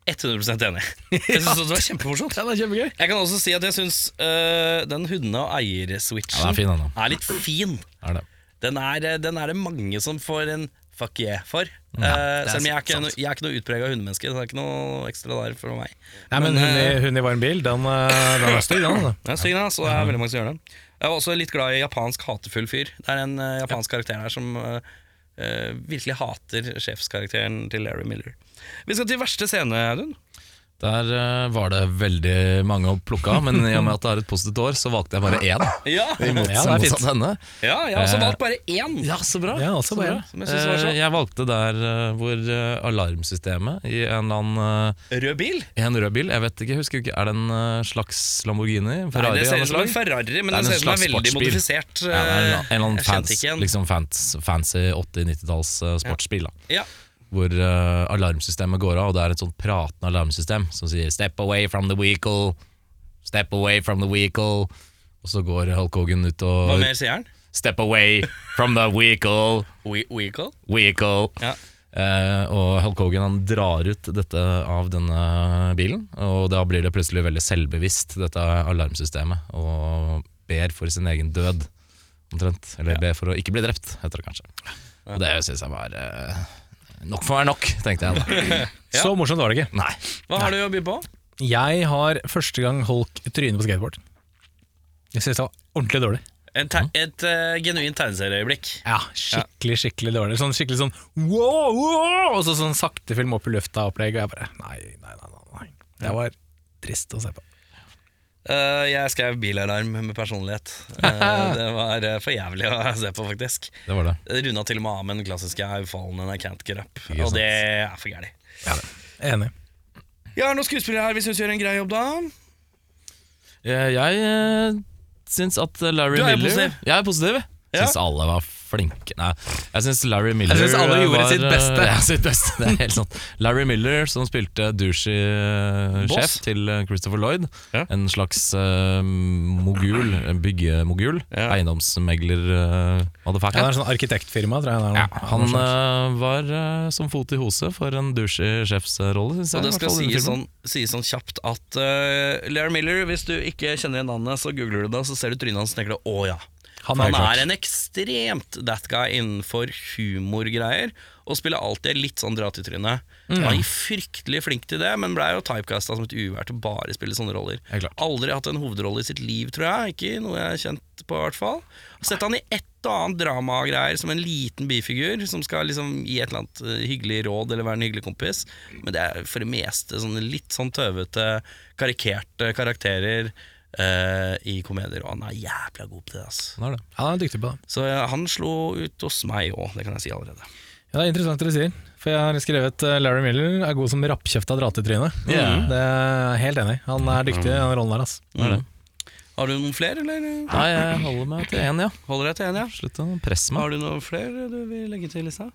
S1: 100 enig. Jeg synes det var kjempemorsomt.
S2: Ja, det er kjempegøy.
S1: Jeg kan også si at jeg syns eh, den hunde- og eierswitchen
S4: Ja, den er fin, den da.
S1: er litt fin.
S4: Er det.
S1: Den er, eh, den er det mange som får en fuck yeah for. Eh, selv om jeg er ikke, no, jeg er ikke noe utprega hundemenneske. Det er ikke noe ekstra der for meg.
S2: Nei, men eh, hun i, hun i varm bil, den, eh, den er stygg, den. altså.
S1: Den er stygg, den, så det er veldig mange som gjør den. Jeg var også litt glad i japansk hatefull fyr. Det er en eh, japansk karakter her som eh, eh, virkelig hater sjefskarakteren til Larry Miller. Vi skal til verste scene, Audun.
S4: Der eh, var det veldig mange å plukke av, men i og med at det er et positivt år, så valgte jeg bare én.
S1: Ja,
S4: I mots-
S2: Ja, det er fint.
S4: motsatt henne.
S1: ja jeg har også valgt bare én.
S4: Ja, så bra.
S2: Ja, altså bare.
S1: Som jeg synes var
S4: Eh,
S1: så
S4: Jeg valgte der eh, hvor eh, alarmsystemet i en eller annen eh,
S1: Rød bil?
S4: i en rød bil, jeg vet ikke, jeg husker ikke, er det en eh, slags Lamborghini?
S1: Nei,
S4: Ferrari?
S1: det
S4: av
S1: ser
S4: noe
S1: ut som en
S4: slag?
S1: Ferrari, men
S4: Det er
S1: den
S4: en
S1: ser ut som den
S4: slags
S1: er veldig
S4: sportsbil.
S1: modifisert. eh,
S4: Ja, det er en, en eller annen
S1: Jeg kjente
S4: fans,
S1: ikke igjen.
S4: liksom fans, fancy 80-, 90-talls eh, sportsbil. Da.
S1: Ja.
S4: Hvor eh, alarmsystemet går av, og det er et sånt pratende alarmsystem som sier 'step away from the vehicle', 'step away from the vehicle'. Og så går Hulk Hogan ut
S1: Hva
S4: og
S1: mer sier han?
S4: 'step away from the vehicle,
S1: We Weagle?
S4: vehicle'.
S1: Ja.
S4: Eh, og Hulk Hogan han drar ut dette av denne bilen, og da blir det plutselig veldig selvbevisst, dette alarmsystemet, og ber for sin egen død, omtrent. Eller ber for å ikke bli drept, heter det kanskje. Og det syns jeg var eh, Nok for å være nok, tenkte jeg da.
S2: Så morsomt var det ikke.
S4: Nei.
S1: Hva har du å by på?
S2: Jeg har første gang holdt trynet på skateboard. Jeg synes det var ordentlig dårlig.
S1: Et, te et eh, genuint tegneserieøyeblikk.
S2: Ja, Skikkelig skikkelig dårlig. Sånn skikkelig sånn wow, wow, Og så sånn sakte film opp i lufta-opplegg. Og jeg bare nei, nei, nei, nei, nei. Det var trist å se på.
S1: Eh, jeg skrev bilalarm med personlighet. Eh, det var eh, for jævlig å se på, faktisk.
S4: Det var det.
S1: Runda til og med av med den klassiske 'I've fallen and I can't get up'. Og
S4: sant.
S1: det er for gærent.
S2: Enig.
S1: Jeg har noen skuespillere her vi syns gjør en grei jobb, da.
S4: Eh, Jeg eh, syns at Larry
S1: Du er jo
S4: Miller
S1: positiv.
S4: Jeg er positiv.
S1: Ja.
S4: Syns alle var flinke Nei, jeg syns Larry Miller
S2: Jeg synes alle gjorde
S4: var,
S2: sitt beste.
S4: eh, Ja, sitt beste. Det er helt sant. Larry Miller, som spilte douchey-sjef
S1: Boss.
S4: til eh, Christopher Lloyd.
S1: Ja.
S4: En slags eh, mogul, en byggemogul.
S1: Ja.
S4: Eiendomsmegler uh,
S2: Ja, det
S4: motherfucker.
S2: er sånn arkitektfirma, tror jeg. Det er sånn. noe.
S4: han eh, var eh, som fot i hose for en douchey sjefsrolle, syns jeg.
S1: Og det
S4: i hvert
S1: skal
S4: fall i den
S1: sies
S4: filmen.
S1: sånn, sies sånn kjapt at eh, Larry Miller, hvis du ikke kjenner igjen navnet, så googler du det, og så ser du trynet hans og tenker du 'å ja'.
S2: Han
S1: For
S2: er
S1: han
S2: klart.
S1: er en ekstremt that guy innenfor humorgreier, og spiller alltid litt sånn dra til trynet.
S4: Mm.
S1: Han er fryktelig flink til det, men blei jo typecasta som et uvær til å bare spille sånne roller.
S4: Ja, klart.
S1: Aldri hatt en hovedrolle i sitt liv, tror jeg. Ikke i noe jeg er kjent på, i hvert fall. Sett han i ett og annet dramagreier som en liten bifigur, som skal liksom gi et eller annet eh, hyggelig råd eller være en hyggelig kompis, men det er for det meste sånne litt sånn tøvete, karikerte karakterer. eh, I komedier, og han er jævla god på det. Altså.
S4: Han er det.
S2: Ja, han er dyktig på det.
S1: Så eh, han slo ut hos meg òg, det kan jeg si allerede.
S2: Ja, det er interessant det du sier. For jeg har skrevet eh, Larry Miller er god som rappkjefta dratetryne.
S4: Ja.
S2: Det er jeg helt enig. i. Han er dyktig i den rollen der. Altså.
S1: Mm. Har du noen flere, eller
S4: Nei, jeg holder meg til én, ja.
S1: holder deg til én? Ja?
S4: Slutt å presse meg.
S1: Har du noen flere du vil legge til, Lisa?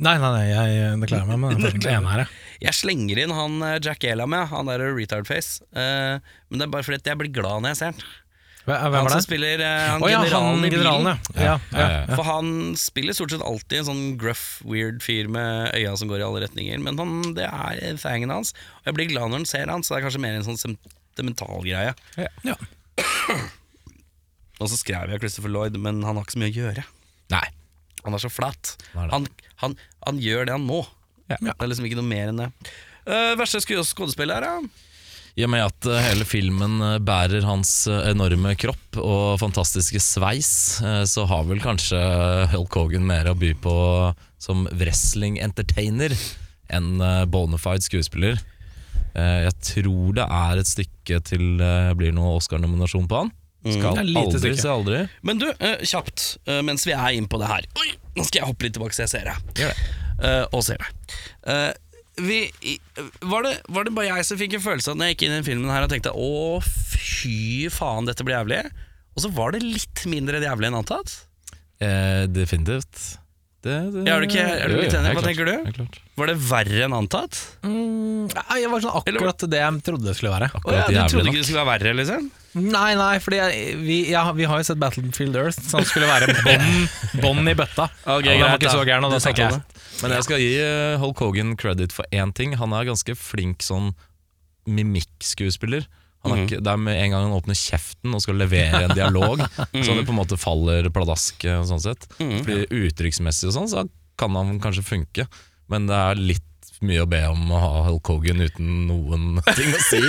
S2: Nei, nei, nei, jeg eh, det klarer meg med den ene her. jeg.
S1: Jeg slenger inn han eh, Jack Ela med, han der retardface. Eh, men det er bare fordi at jeg blir glad når jeg ser han.
S2: Hva- Hvem
S1: Han
S2: var
S1: som
S2: det?
S1: spiller eh, han,
S2: Å ja,
S1: generalen
S2: han
S1: i bilen.
S2: generalen, ja. ja, ja.
S4: ja.
S1: For han spiller stort sett alltid en sånn gruff, weird fyr med øya som går i alle retninger, men han, det er fangen hans. Og jeg blir glad når han ser han, så det er kanskje mer en sånn sentimental greie.
S2: Ja.
S1: Og så skrev jeg Christopher Lloyd, men han har ikke så mye å gjøre.
S4: Nei.
S1: Han er så flat.
S4: Hva er det?
S1: Han, han, Eh, han gjør det han må. Det er liksom ikke noe mer enn det. Uh, verste sku- skuespiller her, da?
S4: I og med at eh, hele filmen eh, bærer hans eh, enorme kropp og fantastiske sveis, eh, så har vel kanskje Hulk Hogan mer å by på som wrestling-entertainer enn eh, bona fide skuespiller. Eh, Jeg tror det er et stykke til det blir noe Oscar-nominasjon på han. Skal
S2: Mm. Det er et lite
S4: aldri
S2: stykke.
S4: si aldri.
S1: Men du, eh, kjapt, eh, mens vi er inne på det her Oi, Nå skal jeg hoppe litt tilbake så jeg ser det.
S4: Gjør det.
S1: Eh, og ser det. Eh, vi, i- var det. Var det bare jeg som fikk en følelse av når jeg gikk inn i den filmen her og tenkte å, fy faen, dette blir jævlig? Og så var det litt mindre jævlig enn antatt.
S4: Eh, definitivt. Det, det,
S1: Ja, er du ikke- er du
S4: Jo, jo,
S1: litt enig?
S4: helt
S1: Hva
S4: klart.
S1: tenker du?
S4: Helt klart.
S1: Var det verre enn antatt?
S2: Nei, jeg var sånn akkurat det jeg trodde det skulle være.
S1: Å, ja,
S4: Akkurat
S1: du trodde
S4: jævlig
S1: ikke det skulle være verre, liksom?
S2: Nei, nei, for vi, ja, vi har jo sett Battlefield Earth, som skulle være bånd bånd i bøtta.
S1: Ok,
S2: den
S1: greit,
S2: var ikke
S1: da.
S2: så gæren, og
S1: Du
S2: da tenker
S1: sa
S2: jeg
S4: Men jeg skal gi eh, Hulk Hogan credit for én ting. Han er ganske flink sånn mimikkskuespiller. Han er ikke, det er med en gang han åpner kjeften og skal levere en dialog, så det på en måte faller pladask. eh, Sånn sett. Fordi Uttrykksmessig og sånn, så kan han kanskje funke, men det er litt mye å be om å ha Hulk Hogan uten noen ting å si.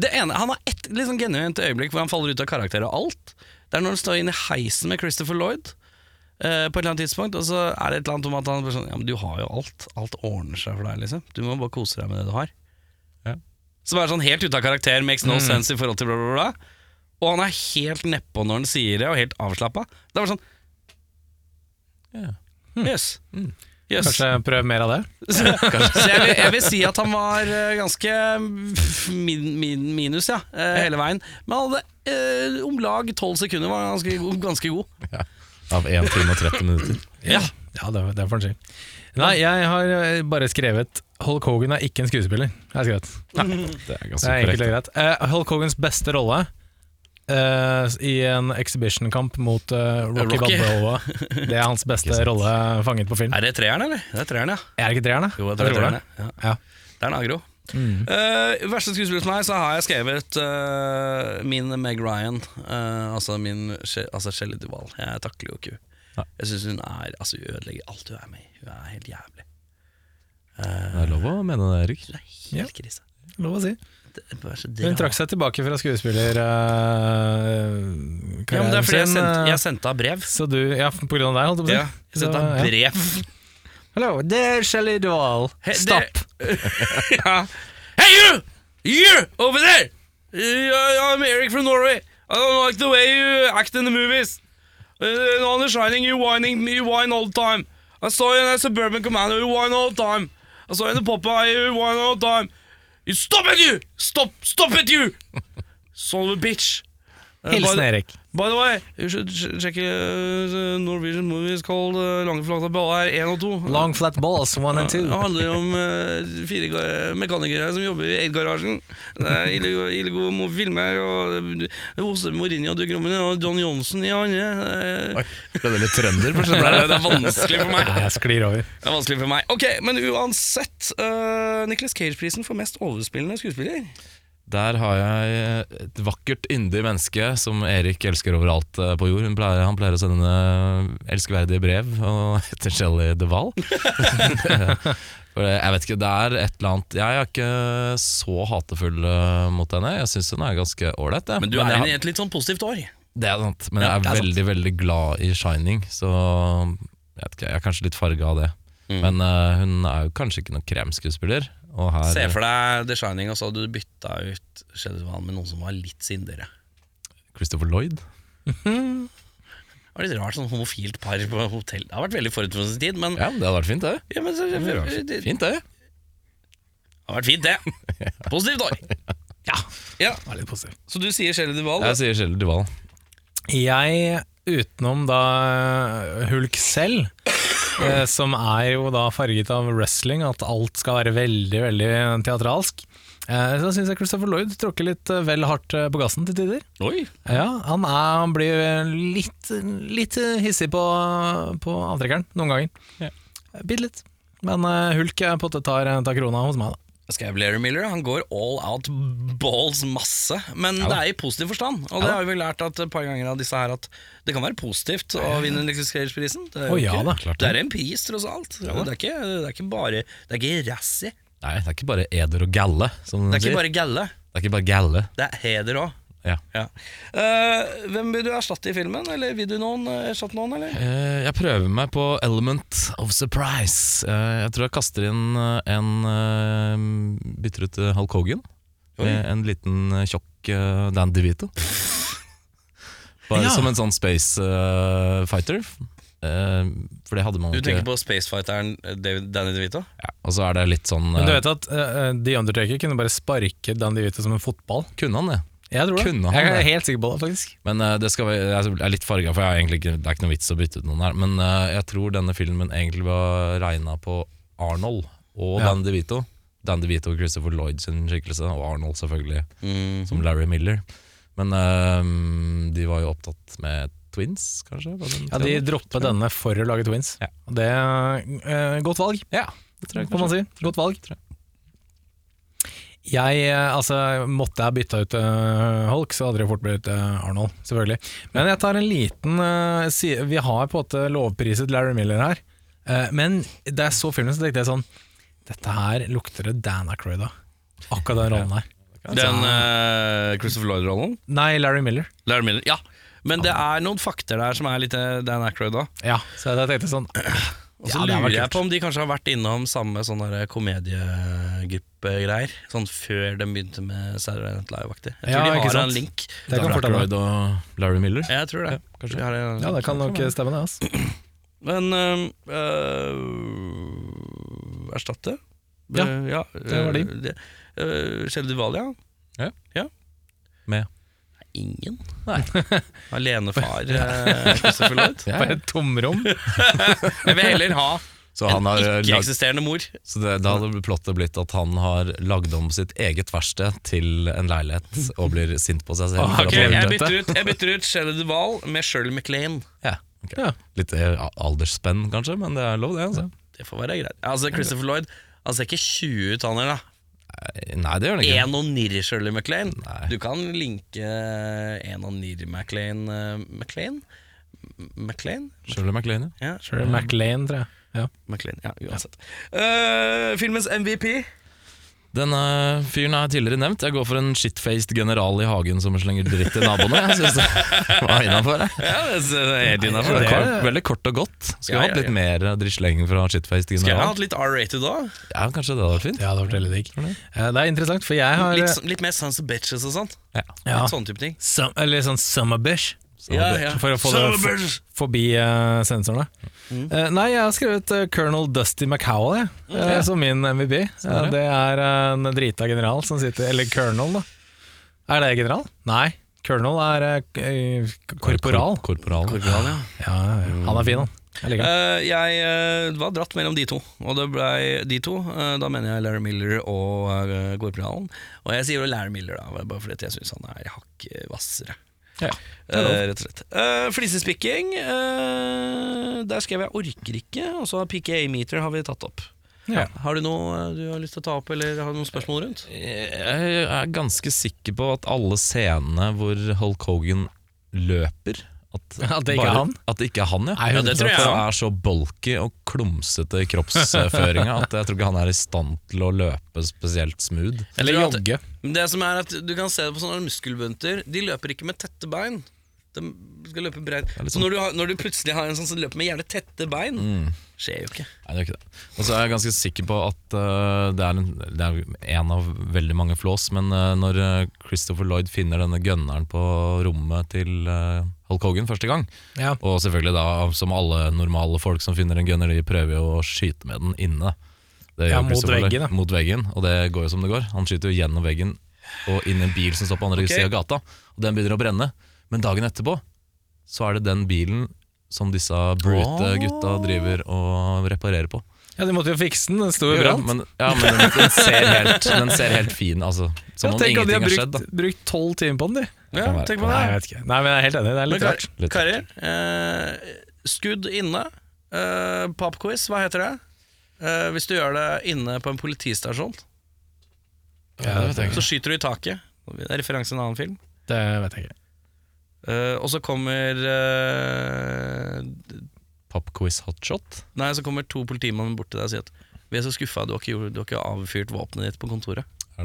S1: Det ene, Han har ett litt sånn genuint øyeblikk hvor han faller ut av karakter og alt. Det er når han står inne i heisen med Christopher Lloyd. eh, på et eller annet tidspunkt Og så er det et eller annet om at han bare sånn Ja, men du har jo alt. Alt ordner seg for deg, liksom. Du må bare kose deg med det du har.
S4: Ja.
S1: Som er sånn helt ute av karakter, makes no sense i forhold til bla, bla, bla. Og han er helt nedpå når han sier det, og helt avslappa. Det er bare sånn
S4: Ja.
S1: Jøss. Jøs.
S2: Kanskje prøv mer av det.
S1: Så, så jeg, vil, jeg vil si at han var eh, ganske min, min, minus, ja, eh, hele veien. Men han hadde eh, om lag tolv sekunder var han ganske, god- ganske god.
S4: Ja. Av 1 time og 30 minutter.
S1: Ja.
S2: Ja, det, det får en si. Nei, jeg har eh, bare skrevet Hulk Hogan er ikke en skuespiller. Det er skrevet.
S4: Det er
S2: Det er
S4: ganske
S2: enkelt
S4: korrekt.
S2: og greit. Eh, Hulk Hogans beste rolle eh, i en exhibition-kamp mot eh, Rocky,
S1: Rocky.
S2: Balboa. Det er hans beste rolle fanget på film.
S1: Er det treeren, eller? Det er treeren, ja.
S2: Er det ikke treeren, da?
S1: Jo, det er
S2: tror
S1: treeren. Ja.
S2: Ja.
S1: Det er en agro. Eh, verste skuespiller for meg, så har jeg skrevet eh, min Meg Ryan. eh, altså min She- altså Shelley Duval. Jeg takler jo ikke hun.
S4: Nei.
S1: Jeg syns hun er Altså hun ødelegger alt hun er med i. Hun er helt jævlig.
S4: Det er lov å mene det, Erik.
S1: Hun er helt
S2: Ja.
S1: krise.
S2: Lov å si.
S1: Det er bare så
S2: Hun
S1: drama.
S2: trakk seg tilbake fra skuespillerkarrieren
S1: Ja, men det er fordi jeg
S2: sin.
S1: sendte,
S2: eh,
S1: jeg sendte av brev.
S2: Så du Ja, på grunn av deg, holdt jeg på å si.
S1: Ja, jeg sendte
S2: Så,
S1: han
S2: ja.
S1: brev.
S2: Hello, there Shelley Duvall.
S1: He-
S2: Stopp.
S1: ja. Hey you! You over there! Uh, I'm Eric from Norway. I don't like the way you act in the movies. Uh, on the shining you whining you whine all the time. I saw you in a suburban commando, you whine all the time. I saw you in the Popeye, you whine all the time. You stop it, you! Stop! Stop it, you! Son of a bitch. Uh, by
S2: Hilsen
S1: the-
S2: Erik.
S1: By the way, you should ch- check uh, the Norwegian movies called uh, Lange flate baller 1 og 2.
S2: Long flat balls, one and two.
S1: Det handler om eh, fire ga- mekanikere som jobber i Eid-garasjen. Det er ille, ille gode mo- filmer. Og eh, Jose Mourinho dukker opp i den, og John Johnson i andre. eh.
S4: Ble det litt trønder? for
S1: Det
S4: eksempel?
S1: er, det er vanskelig for meg.
S2: Nei, jeg sklir over.
S1: Det er vanskelig for meg. Ok, Men uansett, uh, Nicholas Cage-prisen for mest overspillende skuespiller.
S4: Der har jeg et vakkert, yndig menneske som Erik elsker overalt eh, på jord. Hun pleier, han pleier å sende eh, elskverdige brev og heter Shelley Deval. For det- jeg vet ikke, det er et eller annet Jeg er ikke så hatefull eh, mot henne. Jeg syns hun er ganske ålreit. jeg. jeg har-
S1: et litt sånn positivt år.
S4: det er sant, men
S1: Ja,
S4: jeg er,
S1: det er sant.
S4: veldig veldig glad i Shining, så jeg, vet ikke, jeg er kanskje litt farga av det. Men eh, hun er jo kanskje ikke noen kremskuespiller. Og her,
S1: Se for deg The Shining, og så hadde du bytta ut Sheddervan med noen som var litt sindigere.
S4: Christopher Lloyd.
S1: Det var litt rart, sånn homofilt par på hotell. Det har vært veldig forut for sin tid, men,
S4: Ja, Det hadde vært fint, det.
S1: ja, men så, det,
S4: Fint det
S1: Det har vært fint, det. Positivt år. Ja.
S2: Det var litt positivt.
S1: Så du sier Shelley Duval?
S4: Jeg sier Shelley Duval.
S2: Jeg, utenom da Hulk selv, eh, som er jo da farget av wrestling, at alt skal være veldig, veldig teatralsk, eh, så syns jeg Christopher Lloyd tråkker litt eh, vel hardt eh, på gassen til tider.
S1: Oi.
S2: Ja, han, er, han blir litt, litt hissig på, på avtrekkeren noen ganger. Bitte litt. Men eh, Hulk eh, på en måte tar, tar krona hos meg, da.
S1: Skal jeg Blair Miller? Han går all out balls masse, men det er i positiv forstand. Og det har vi lært at et par ganger av disse her at det kan være positivt å vinne Lexus-prisen. Det, er jo
S2: Å, ja
S1: ikke-
S2: da,
S4: klart
S1: det
S4: det.
S1: er en pris, tross alt. det, er ikke, det er ikke bare Det er ikke rassy.
S4: Nei, det er ikke bare eder og galle,
S1: Det
S4: som hun
S1: er ikke
S4: sier.
S1: bare galle.
S4: Det er ikke bare galle.
S1: Det er heder òg.
S4: Ja.
S1: Eh, hvem vil du erstatte i filmen? Eller vil du noen eh, erstatte noen, eller?
S4: Eh, jeg prøver meg på element of surprise. Eh, jeg tror jeg kaster inn eh, en eh, Bytter ut eh, Hulk Hogan med en liten eh, tjokk eh, Dan DeVito. Bare
S2: Ja.
S4: som en sånn space eh, fighter. Eh, for det hadde man
S1: Du
S4: jo
S1: tenker
S4: ikke.
S1: på Spacefighteren David, Danny DeVito?
S4: Ja, og så er det litt sånn
S2: Men du
S4: eh,
S2: vet at eh, The Undertaker kunne bare sparke Dan DeVito som en fotball?
S4: eh, Kunne han det?
S2: Jeg tror det.
S4: Kunne han
S2: jeg er
S4: det?
S2: helt sikker på det, faktisk.
S4: Men eh, det skal være, jeg er litt farga, for jeg har egentlig ikke, det er ikke noe vits å bytte ut noen her. Men eh, jeg tror denne filmen egentlig var regna på Arnold og
S2: Ja.
S4: Dan DeVito. Dan DeVito og Christopher Lloyd sin skikkelse, og Arnold selvfølgelig,
S1: Mm.
S4: som Larry Miller. Men eh, de var jo opptatt med twins, kanskje? var det den
S2: Ja, De
S4: tiden?
S2: dropper denne for å lage Twins.
S4: Ja.
S2: Og Det er eh, godt valg,
S4: Ja, det tror jeg
S2: får man
S4: kanskje.
S2: si. Godt valg. Jeg, eh, altså, Måtte jeg bytta ut eh, Hulk, så hadde det fort blitt eh, Arnold, selvfølgelig. Men jeg tar en liten eh, si, Vi har på en måte lovpriset Larry Miller her. Eh, men da jeg så filmen, så tenkte jeg sånn Dette her lukter det Dan Aykroyd av. Akkurat den rollen her.
S1: Den eh, Christopher Lloyd-rollen?
S2: Nei, Larry Miller.
S1: Larry Miller. Ja. Men det er noen fakter der som er litt eh, Dan Aykroyd da.
S2: Ja, så jeg tenkte sånn
S1: Og så
S2: Ja, det hadde vært
S1: lurer jeg
S2: kult.
S1: på om de kanskje har vært innom samme sånn der komediegruppegreier. Sånn før de begynte med Saturday Night Live-aktig. Jeg tror
S2: Ja,
S1: de
S2: ikke
S1: har
S2: sant?
S1: en link.
S2: Det
S4: Dan
S2: kan fortelle meg.
S4: Aykroyd og Larry Miller.
S1: Jeg tror det.
S4: kanskje.
S1: De har en-
S2: Ja, det kan nok stemme, det. Altså.
S1: Men eh, øhm, øh, Erstatte?
S2: Ja,
S1: Øh,
S2: det var de.
S1: øh, det- øh, Kjell Duvalia?
S4: Ja.
S1: ja.
S4: Med.
S1: Ingen. Nei. Alenefar, øh, Christopher Lloyd.
S4: Ja,
S2: Bare et tomrom.
S1: Jeg vil heller ha
S4: Så, han har,
S1: en
S4: eh, lag-
S1: ikke-eksisterende mor.
S4: så det, da hadde plottet blitt at han har lagd om sitt eget verksted til en leilighet og blir sint på seg selv. for at
S1: Ok,
S4: han
S1: jeg
S4: har gjort
S1: bytter
S4: dette.
S1: ut, jeg bytter ut Shelley Duvall med Shirley MacLaine.
S4: Ja, ok. Litt eh, aldersspenn kanskje, men det er lov det. altså.
S1: Det får være greit. Altså, Christopher Lloyd han ser ikke 20 ut, han her. da
S4: Nei, det gjør det ikke.
S1: En og nirr Shirley MacLaine.
S4: Nei.
S1: Du kan linke en og nirr MacLaine eh, MacLaine? M- MacLaine?
S4: Shirley MacLaine. ja.
S1: Ja,
S2: Tror det er MacLaine, tror jeg. Ja.
S1: MacLaine. Ja, uansett. Eh, filmens MVP.
S4: Denne eh, fyren er tidligere nevnt. Jeg går for en shitfaced general i hagen som slenger dritt til naboene. Jeg synes det var innafor.
S1: Ja, det er helt
S2: Ja, det er-
S4: Veldig kort og godt. Skulle
S1: Ja,
S4: hatt
S1: ja,
S4: litt mer drittslenging fra shitfaced
S1: Skulle jeg
S4: general.
S1: hatt litt R-rated da?
S4: Ja, Kanskje det hadde vært fint.
S2: Ja, det var veldig digg. Eh, Det er interessant, for jeg har
S1: Litt, litt mer Sons of Bitches og sånt.
S4: Ja.
S2: ja,
S1: Litt sånn type ting.
S2: som, Eller sånn Summerbish,
S4: Så det-
S2: eh, for å få det
S1: Sons of
S2: for,
S1: Bitches!
S2: forbi eh, sensorene.
S4: Mm.
S2: Eh, nei, jeg har skrevet eh, Colonel Dusty McCowell jeg, eh, som min MVP.
S4: Sånn
S2: Eh, det er eh, en drita general som sitter Eller colonel, da. Er det general? Nei. Colonel er eh, k- eh, korporal.
S4: Kor- Korporal.
S1: Ja, ja.
S2: Ja, ja, han er fin, han. Jeg liker han.
S1: Eh, jeg eh, var dratt mellom de to, og det blei de to. eh, da mener jeg Larry Miller og uh, Gorpedalen. Og jeg sier jo Larry Miller, da, bare fordi at jeg syns han er hakket hvassere.
S4: Ja.
S1: Eh, rett og slett. Eh, flisespikking, eh, der skrev jeg 'orker ikke', og så har PKA-meter har vi tatt opp.
S2: Ja.
S1: Har du noe eh, du har lyst til å ta opp, eller har du noen spørsmål rundt?
S4: Jeg er ganske sikker på at alle scenene hvor Hulk Hogan løper At,
S2: At det ikke er han?
S4: At det ikke er han, ja.
S2: Nei, Ja,
S1: det tror jeg
S4: For
S1: også.
S4: han er så bulky og klumsete i kroppsføringa at jeg tror ikke han er i stand til å løpe spesielt smooth.
S2: Eller
S1: tror at-
S2: jogge.
S1: Men Det som er at Du kan se det på sånne muskelbunter. De løper ikke med tette bein. De skal løpe breit.
S4: litt sånn- Mm.
S1: Så når du, har, når du plutselig har en sånn som løper med gjerne tette bein, skjer jo ikke.
S4: Nei, det er ikke det. Og så er jeg ganske sikker på at øh, det, er en, det er en av veldig mange flås, men øh, når øh, Christopher Lloyd finner denne gunneren på rommet til øh, Hulk Hogan første gang,
S2: Ja.
S4: og selvfølgelig da, som alle normale folk som finner en gunner, de prøver jo å skyte med den inne. Det
S2: Ja,
S4: gjør
S2: mot
S4: Christopher Lloyd.
S2: veggen, da.
S4: mot veggen, og det går jo som det går. Han skyter jo gjennom veggen og inn i en bil som står på andre
S1: Ok.
S4: siden av gata, og den begynner å brenne. Men dagen etterpå så er det den bilen som disse brute gutta driver og reparerer på.
S2: ja, de måtte jo fikse den. Den sto i
S4: Jo,
S2: brann.
S4: Men, ja, men den, den, ser helt, den ser helt fin altså,
S2: Ja,
S4: Som om
S2: tenk at de
S4: ingenting
S2: har
S4: har skjedd.
S2: brukt,
S4: Da.
S2: brukt 12 timer på den, de.
S1: Ja,
S4: kan være-
S1: tenk på
S2: Nei, jeg
S1: det.
S2: vet ikke. Nei, men jeg er helt enig. Det er
S1: Men
S2: litt rart.
S1: kar-
S4: Litt
S1: Karer, eh, skudd inne. Eh, Popquiz, hva heter det? Eh, hvis du gjør det inne på en politistasjon,
S2: Ja, det,
S1: så skyter du i taket. Det er referanse i en annen film.
S2: vet jeg ikke.
S1: Eh, og så kommer eh,
S4: Popquiz hotshot.
S1: Nei, så kommer to politimann bort til deg og sier at vi er så skuffa, du har ikke, gjort- du har ikke avfyrt våpenet ditt på kontoret.
S4: Ja, Er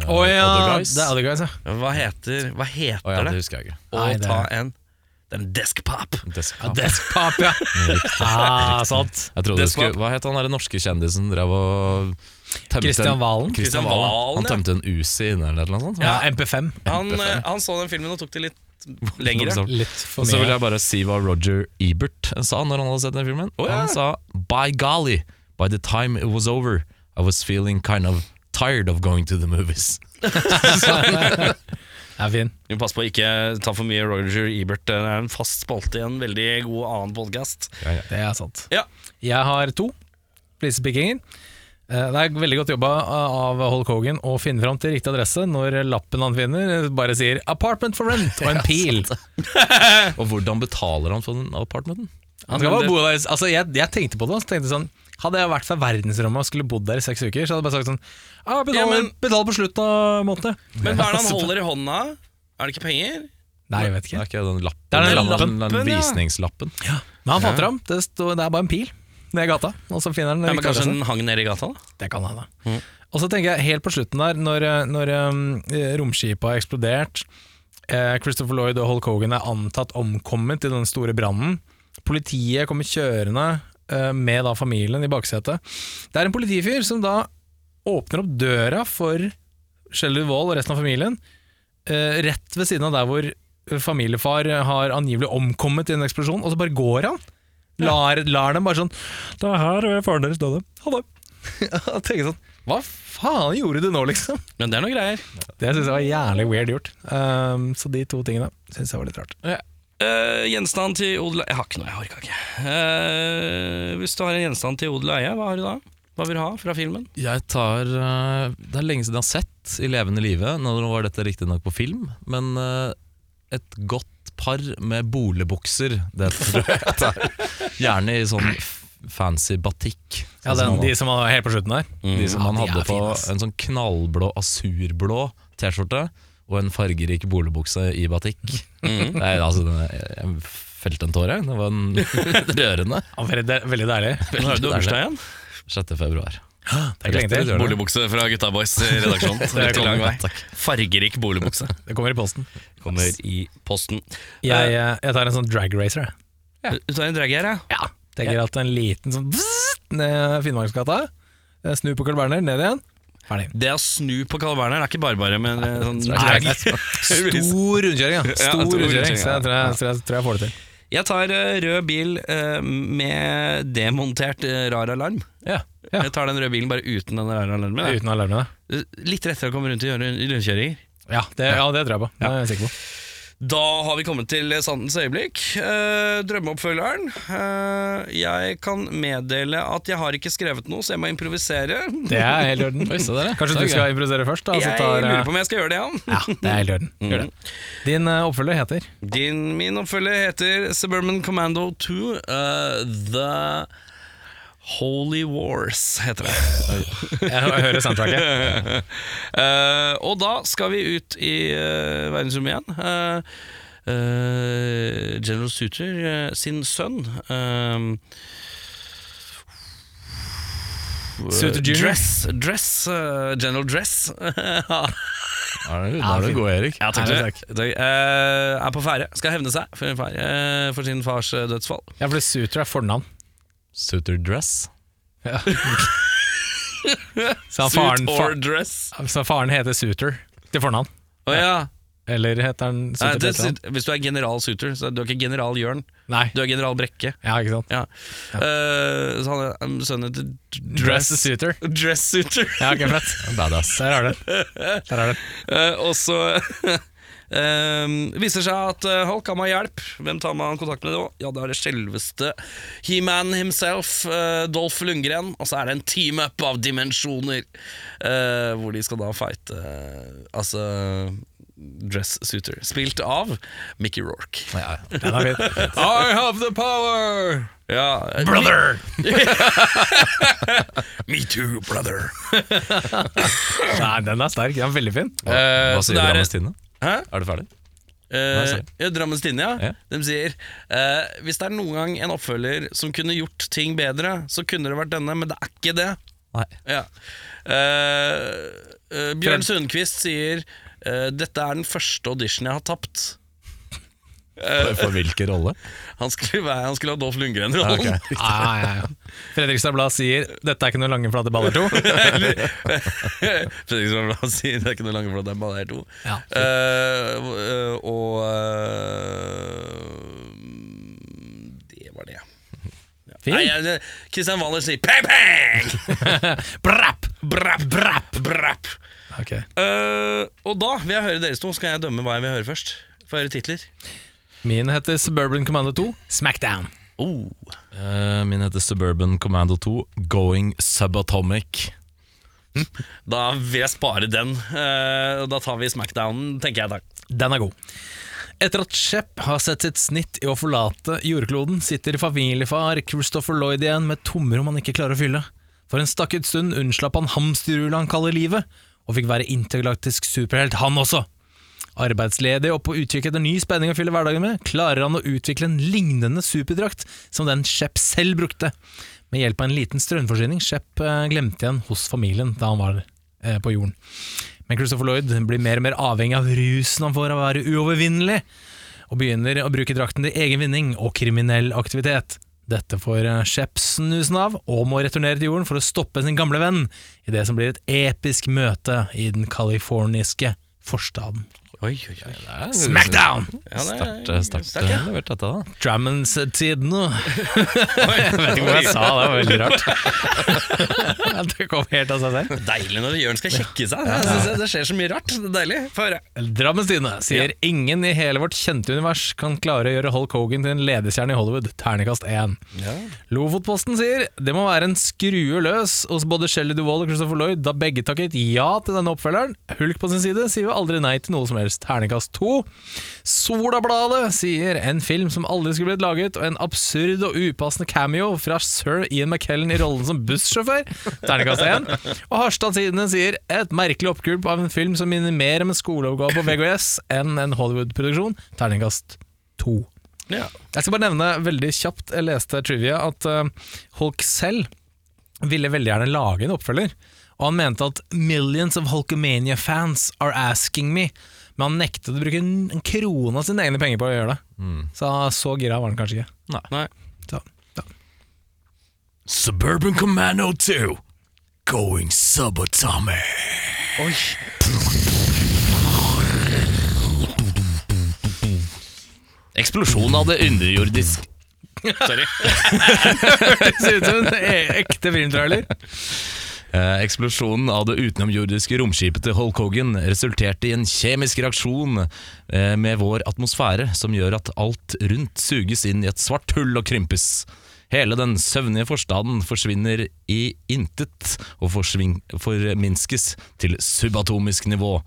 S4: det
S2: Å ja,
S4: Other Guys?
S2: det er Other Guys, ja.
S1: Hva heter, hva heter
S4: Å ja, det
S1: det?
S4: husker jeg ikke.
S1: Å
S2: Nei, det-
S1: ta en Det er en desk pop!
S4: Desk
S2: ja Deskpap, ja. ah, sant.
S4: Jeg trodde det
S1: Desk Pop.
S4: skulle, Hva het han der norske kjendisen drev og tømte en-
S2: Christian Valen.
S1: Christian
S4: Christian
S1: Valen,
S4: Valen Han
S1: ja.
S4: tømte en Uzi inne eller noe sånt.
S2: Ja, MP5.
S1: Han, eh, han så den filmen og tok det litt
S4: Tok det
S1: lengre.
S4: sånn.
S2: Litt for
S4: Og så vil
S2: mye.
S4: jeg bare si hva Roger Ebert sa når han hadde sett den filmen. Han sa By golly, by the time it was over, I was feeling kind of tired of going to the movies.
S2: Ja, fin.
S1: Vi må passe på å ikke ta for mye Roger Ebert. Det er en fast spalte i en veldig god annen podkast.
S2: Det er sant.
S1: Ja.
S2: Jeg har to flisepikkinger. Eh, Det er veldig godt jobba av Hulk Hogan å finne fram til riktig adresse når lappen han finner, eh, bare sier 'apartment for rent' og en pil.
S4: Og hvordan betaler han for den apartmenten?
S2: Han skal bare bo der altså, jeg, jeg tenkte på det, og så tenkte jeg sånn Hadde jeg vært fra verdensrommet og skulle bodd der i seks uker, så hadde jeg bare sagt sånn Ja, betal,
S1: Ja, men-
S2: betal på slutten av måneden.
S1: Men hva er det han holder i hånda? Er det ikke penger?
S2: Nei, jeg vet
S4: Det
S2: ikke.
S4: er ikke den lappen.
S2: Det er den
S4: Den-
S1: lappen,
S4: den
S1: ja.
S4: visningslappen.
S2: Men han fant fram. Det, står- det er bare en pil nede i gata, og så finner han
S1: Ja, men
S2: den riktige
S1: Kanskje
S2: adressen.
S1: den hang nede i gata? da?
S2: Det kan hende. Og så tenker jeg helt på slutten der, når, når um, romskipet har eksplodert, eh, Christopher Lloyd og Hulk Hogan er antatt omkommet i den store brannen, politiet kommer kjørende eh, med da familien i baksetet. Det er en politifyr som da åpner opp døra for Shelley Wall og resten av familien, eh, rett ved siden av der hvor familiefar har angivelig omkommet i en eksplosjon, og så bare går han. Lar, lar dem bare sånn Det er her eh, faren deres døde. Ha det. Jeg tenker sånn Hva faen gjorde du nå, liksom?
S1: Men det er noe greier.
S2: Det syns jeg var jævlig weird gjort. Um, så de to tingene syns jeg var litt rart.
S1: Eh, gjenstand til odel Jeg har ikke noe, jeg orka ikke. Eh, hvis du har en gjenstand til odel og eie, hva har du da? Hva vil du ha fra filmen?
S4: Jeg tar eh, Det er lenge siden jeg har sett I levende live. Nå var dette riktignok på film, men eh, et godt par med boligbukser, det tror jeg jeg tar. Gjerne i sånn f- fancy batikk.
S2: Ja,
S4: Sånn som han
S2: De som var helt på slutten der.
S1: Mm.
S4: De som
S2: Ja,
S4: han
S2: de
S4: hadde
S2: er
S4: på
S2: fine, ass.
S4: en sånn knallblå, asurblå T-skjorte og en fargerik boligbukse i batikk. Nei, altså, den- jeg felte en tåre. Det var en rørende.
S2: Veldig, veldig deilig.
S1: Nå har du
S4: Veldig
S1: bursdag igjen.
S4: 6. februar.
S2: Det, er ikke lenge til.
S4: Gjør det.
S1: Boligbukse fra Gutta Boys i redaksjonen.
S2: er
S1: Litt lang vei.
S4: kommet, takk.
S1: Fargerik boligbukse
S2: det kommer i posten.
S1: kommer i posten.
S2: Jeg, eh, jeg tar en sånn drag racer. jeg.
S1: Du tar en drag her, ja?
S2: Tenker at en liten sånn vzzt ned Finnmarksgata. eh, Snu på Carl Berner, ned igjen. Ferdig.
S1: Det å snu på Carl Berner er ikke bare bare, men eh, sånn
S2: Nei,
S1: drag.
S2: Stor rundkjøring, ja. Stor
S1: stor
S2: rundkjøring.
S1: rundkjøring,
S2: Så jeg tror jeg, tror jeg, tror jeg får det til.
S1: Jeg tar eh, rød bil eh, med demontert eh, rar alarm.
S2: Ja, ja.
S1: Jeg tar den røde bilen bare uten den rare alarmen. jeg.
S2: Uten alarmene.
S1: Litt rettere å komme rundt og gjøre rundkjøringer.
S2: Ja, det, ja, det tror jeg på. Det er jeg sikker på.
S1: Da har vi kommet til sannens øyeblikk. Eh, drømmeoppfølgeren. Eh, jeg kan meddele at jeg har ikke skrevet noe, så jeg må improvisere.
S2: Det er helt i orden.
S4: Oi, se der, ja.
S2: Kanskje du
S4: Det er
S2: skal improvisere først? da? så
S1: jeg
S2: tar, eh,
S1: lurer på om jeg skal gjøre det, ja.
S2: Ja, det er helt i orden. Gjør det. Din eh, oppfølger heter
S1: Din, min oppfølger heter Suburban Commando 2 eh, The Holy Wars, heter det.
S2: Jeg hører soundtracket.
S1: Eh, og da skal vi ut i eh, verdensrommet igjen. Eh, eh, General Suter eh, sin sønn um, eh,
S2: Suter Jr.?
S1: Dress, dress eh, General Dress Ja,
S4: Da er du- da er du god, Erik.
S1: takk, takk. Takk. Eh, Er på ferde, skal hevne seg for, en far, eh, for sin fars eh, dødsfall
S2: Ja, for Suter er fornavn.
S4: Suitor dress.
S2: Så han
S1: Suit
S2: faren,
S1: or
S2: fa
S1: dress
S2: så faren heter Suter til fornavn.
S1: Å ja.
S2: Eller heter han
S1: Nei,
S2: Suter
S1: det,
S2: til etternavn?
S1: Hvis du er general Suter, så er du ikke general Jørn
S2: Nei.
S1: Du er general Brekke
S2: Ja, ikke sant.
S1: Ja. Eh, så han er um, sønnen til
S2: Dress Suter.
S1: Dress Suter.
S2: Ja, ok, flett.
S4: Badass.
S2: Der har du den. Der har du den.
S1: Eh, og så um, viser det seg at uh, Hulk kan ha hjelp. Hvem tar man kontakt med da? Ja, det er det selveste He-Man himself, eh, Dolph Lundgren. Og så er det en team-up av dimensjoner, eh, hvor de skal da fighte eh, Altså Dress Suter. Spilt av Mickey Rorke.
S4: Ja, ja.
S2: Den er fin.
S4: I have the power!
S1: Ja, eh,
S2: Brother!
S1: Me too, brother.
S2: Nei, den er sterk. Den er veldig fin.
S4: Hva,
S1: Eh,
S4: hva
S1: så
S4: sier
S1: det er-
S4: Drammens Tine?
S1: Hæ?
S4: Er du ferdig?
S1: Eh,
S4: sorry.
S1: ja, Drammens Tinne, ja.
S4: Ja.
S1: De sier eh, hvis det er noen gang en oppfølger som kunne gjort ting bedre, så kunne det vært denne, men det er ikke det.
S4: Nei.
S1: Ja. Eh, eh, Bjørn Sundquist sier eh, Dette er den første auditionen jeg har tapt.
S4: For hvilken rolle?
S1: Han skulle, være, han skulle ha Dolph Lundgren-rollen.
S2: Nei, nei, nei. Fredrikstad Blad sier 'Dette er ikke noe lange flate baller to'.
S1: Eller- Fredrikstad Blad sier det er ikke noe lange flate, det er bare her to.
S2: Ja.
S1: Eh, eh, og eh, Det var det.
S2: Fin.
S1: Nei, jeg- Christian Waller sier pang, pang!
S2: Brapp!
S1: Brapp, brapp, brapp.
S2: Ok.
S1: Eh, og da vil jeg høre deres to, så kan jeg dømme hva jeg vil høre først. Få høre titler.
S2: Min heter Suburban Commando 2, Smackdown.
S1: Oh.
S4: Eh, Min heter Suburban Commando 2, Going Subatomic.
S1: Da vil jeg spare den. Eh, og da tar vi Smackdownen, tenker jeg da.
S2: Den er god. Etter at Shep har sett sitt snitt i å forlate jordkloden, sitter familiefar Christopher Lloyd igjen med et tomrom han ikke klarer å fylle. For en stakket stund unnslapp han hamsterhjulet han kaller livet, og fikk være intergalaktisk superhelt, han også. Arbeidsledig og på utkikk etter ny spenning å fylle hverdagen med, klarer han å utvikle en lignende superdrakt som den Shep selv brukte. Med hjelp av en liten strømforsyning Shep eh, glemte igjen hos familien da han var eh, på jorden. Men Christopher Lloyd blir mer og mer avhengig av rusen han får av å være uovervinnelig, og begynner å bruke drakten til egen vinning og kriminell aktivitet. Dette får eh, Shep snusen av, og må returnere til jorden for å stoppe sin gamle venn i det som blir et episk møte i den californiske forstaden.
S1: Oi, oi, oi.
S4: Ah,
S2: Smackdown!
S1: Ja, det er
S4: Sterkt eh, sterkt,
S1: sterkt, ja.
S4: eh, levert dette, da.
S2: Drummonds Tidno. Jeg vet ikke hva jeg sa, det var veldig rart. det kom helt av seg selv.
S1: Deilig når Jørn skal kjekke seg. Jeg synes det- det skjer så mye rart. Det er deilig. Få høre.
S2: Drammens Tidende sier ingen i hele vårt kjente univers kan klare å gjøre Hulk Hogan til en ledestjerne i Hollywood. Ternekast 1. Lofotposten sier det må være en skrue løs hos både Shelley Duvall og Christopher Lloyd, da begge takket ja til denne oppfølgeren. Hulk på sin side sier jo aldri nei til noe som helst. Ternekast 2. Solabladet sier en film som aldri skulle blitt laget, og en absurd og upassende cameo fra sir Ian McKellen i rollen som bussjåfør. Ternekast 1. Og Harstad Tidende sier et merkelig oppgulp av en film som minner mer om en skoleoppgave på VGS enn en Hollywood-produksjon. Ternekast 2.
S1: Ja.
S2: Jeg skal bare nevne veldig kjapt, jeg leste trivia, at eh, Hulk selv ville veldig gjerne lage en oppfølger. Og han mente at 'millions of Hulkamania-fans are asking me'. Men han nektet å bruke en en krone av sine egne penger på å gjøre det. Så så gira var han kanskje ikke.
S1: Nei.
S2: Så, ja.
S4: Suburban Commando 2, Going Subatomic.
S1: Oi.
S4: Eksplosjon av det underjordiske
S1: Sorry.
S2: Det ser ut som en e- ekte filmtrailer.
S4: Eh, Eksplosjonen av det utenomjordiske romskipet til Hulk Hogan resulterte i en kjemisk reaksjon eh, med vår atmosfære, som gjør at alt rundt suges inn i et svart hull og krympes. Hele den søvnige forstaden forsvinner i intet og forsvin- forminskes til subatomisk nivå.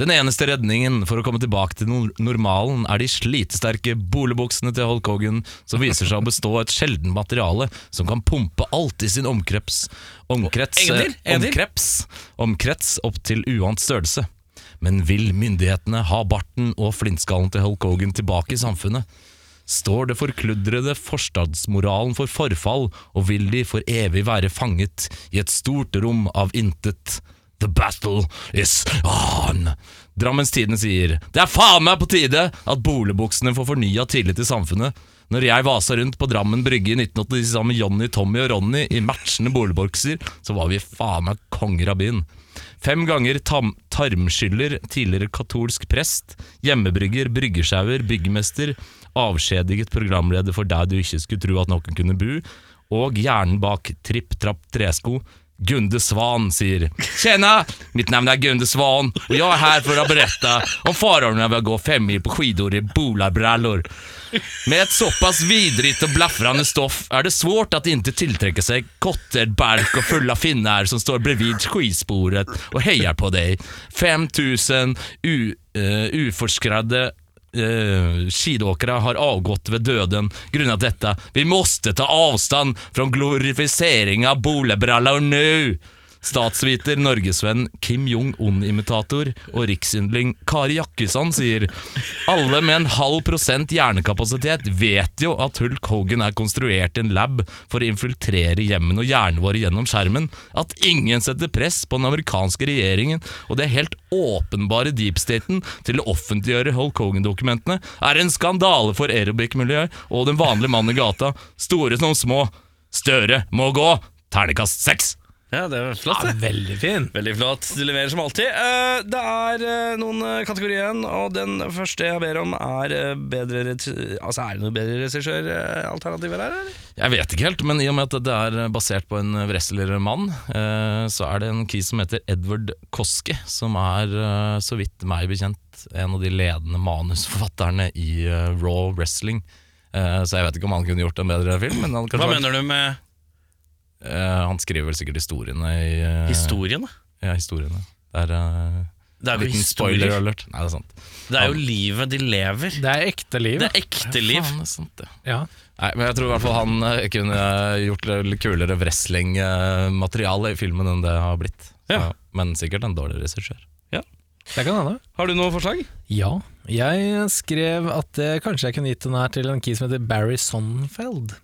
S4: Den eneste redningen for å komme tilbake til nor- normalen er de slitesterke bolebuksene til Hulk Hogan, som viser seg å bestå av et sjelden materiale som kan pumpe alt i sin omkreps, omkrets,
S1: En til, en til.
S4: omkrets, omkrets opp til uant størrelse. Men vil myndighetene ha barten og flintskallen til Hulk Hogan tilbake i samfunnet? Står det forkludrede forstadsmoralen for forfall, og vil de for evig være fanget i et stort rom av intet? The battle is on! Drammens Tidende sier Det er faen meg på tide at boligbuksene får fornya tillit i samfunnet. Når jeg vasa rundt på Drammen Brygge i 1980 sammen med Johnny, Tommy og Ronny i matchende boligbokser, så var vi faen meg konger av byen. Fem ganger tam tarmskyller, tidligere katolsk prest, hjemmebrygger, bryggesjauer, byggmester, avskjediget programleder for der du ikke skulle tro at noen kunne bu, og hjernen bak Tripp Trapp Tresko, Gunde Svan sier Tjena! Mitt navn er Gunde Svan, og jeg er her for å berette om forholdene ved å gå femmil på skidor i bolabrallor. Med et såpass vidrigt og blaffrande stoff er det svårt att inte tillträcka sig kotter, bark och fulla finnar som står bredvid skisporet och hejar på dig. 5000 u- eh, uforskradde eh, skidåkare har avgått ved döden grundat detta. Vi måste ta avstånd från glorificering av bolebrallor nu! Statsviter, norgesvenn, Kim Jong-un-imitator og riksyndling Kari Jakkesson sier alle med en halv prosent hjernekapasitet vet jo at Hulk Hogan er konstruert i en lab for å infiltrere hjemmene og hjernen vår gjennom skjermen, at ingen setter press på den amerikanske regjeringen og det helt åpenbare deepstaten til å offentliggjøre Hulk Hogan-dokumentene, er en skandale for aerobic-miljøet og den vanlige mannen i gata, store som små. Støre må gå! Ternekast seks!
S1: Ja, det er flott,
S2: Ja,
S1: det.
S2: veldig fin.
S1: Ah, Veldig flott. Du leverer som alltid. Eh, det er eh, noen eh, kategorier igjen, og den første jeg ber om, er eh, bedre regi- Altså, er det noe bedre regissøralternativer her, eller?
S4: Jeg vet ikke helt, men i og med at det er basert på en wrestlermann, eh, så er det en kis som heter Edward Koske, som er, eh, så vidt meg bekjent, en av de ledende manusforfatterne i eh, Raw Wrestling. Eh, Så jeg vet ikke om han kunne gjort en bedre film. Men han, kanskje,
S1: du med
S4: Eh, han skriver vel sikkert historiene i eh,
S1: historien? da?
S4: Ja, historiene. Det er eh,
S1: Det er jo
S4: liten spoiler
S1: historier.
S4: alert. Nei, det er sant.
S1: Det er jo livet de lever.
S2: Det er ekte liv.
S1: Det er ekte
S4: Ja,
S1: liv.
S4: faen, det er sant, ja.
S2: Ja.
S4: Nei, men jeg tror i hvert fall han eh, kunne eh, gjort det litt kulere wrestling-materiale i filmen enn det har blitt. Så,
S1: Ja.
S4: Men sikkert en dårlig regissør.
S2: Det kan hende.
S1: Har du noe forslag?
S2: Ja. Jeg skrev at eh, kanskje jeg kunne gitt den her til en kis som heter Barry Sonnenfeld.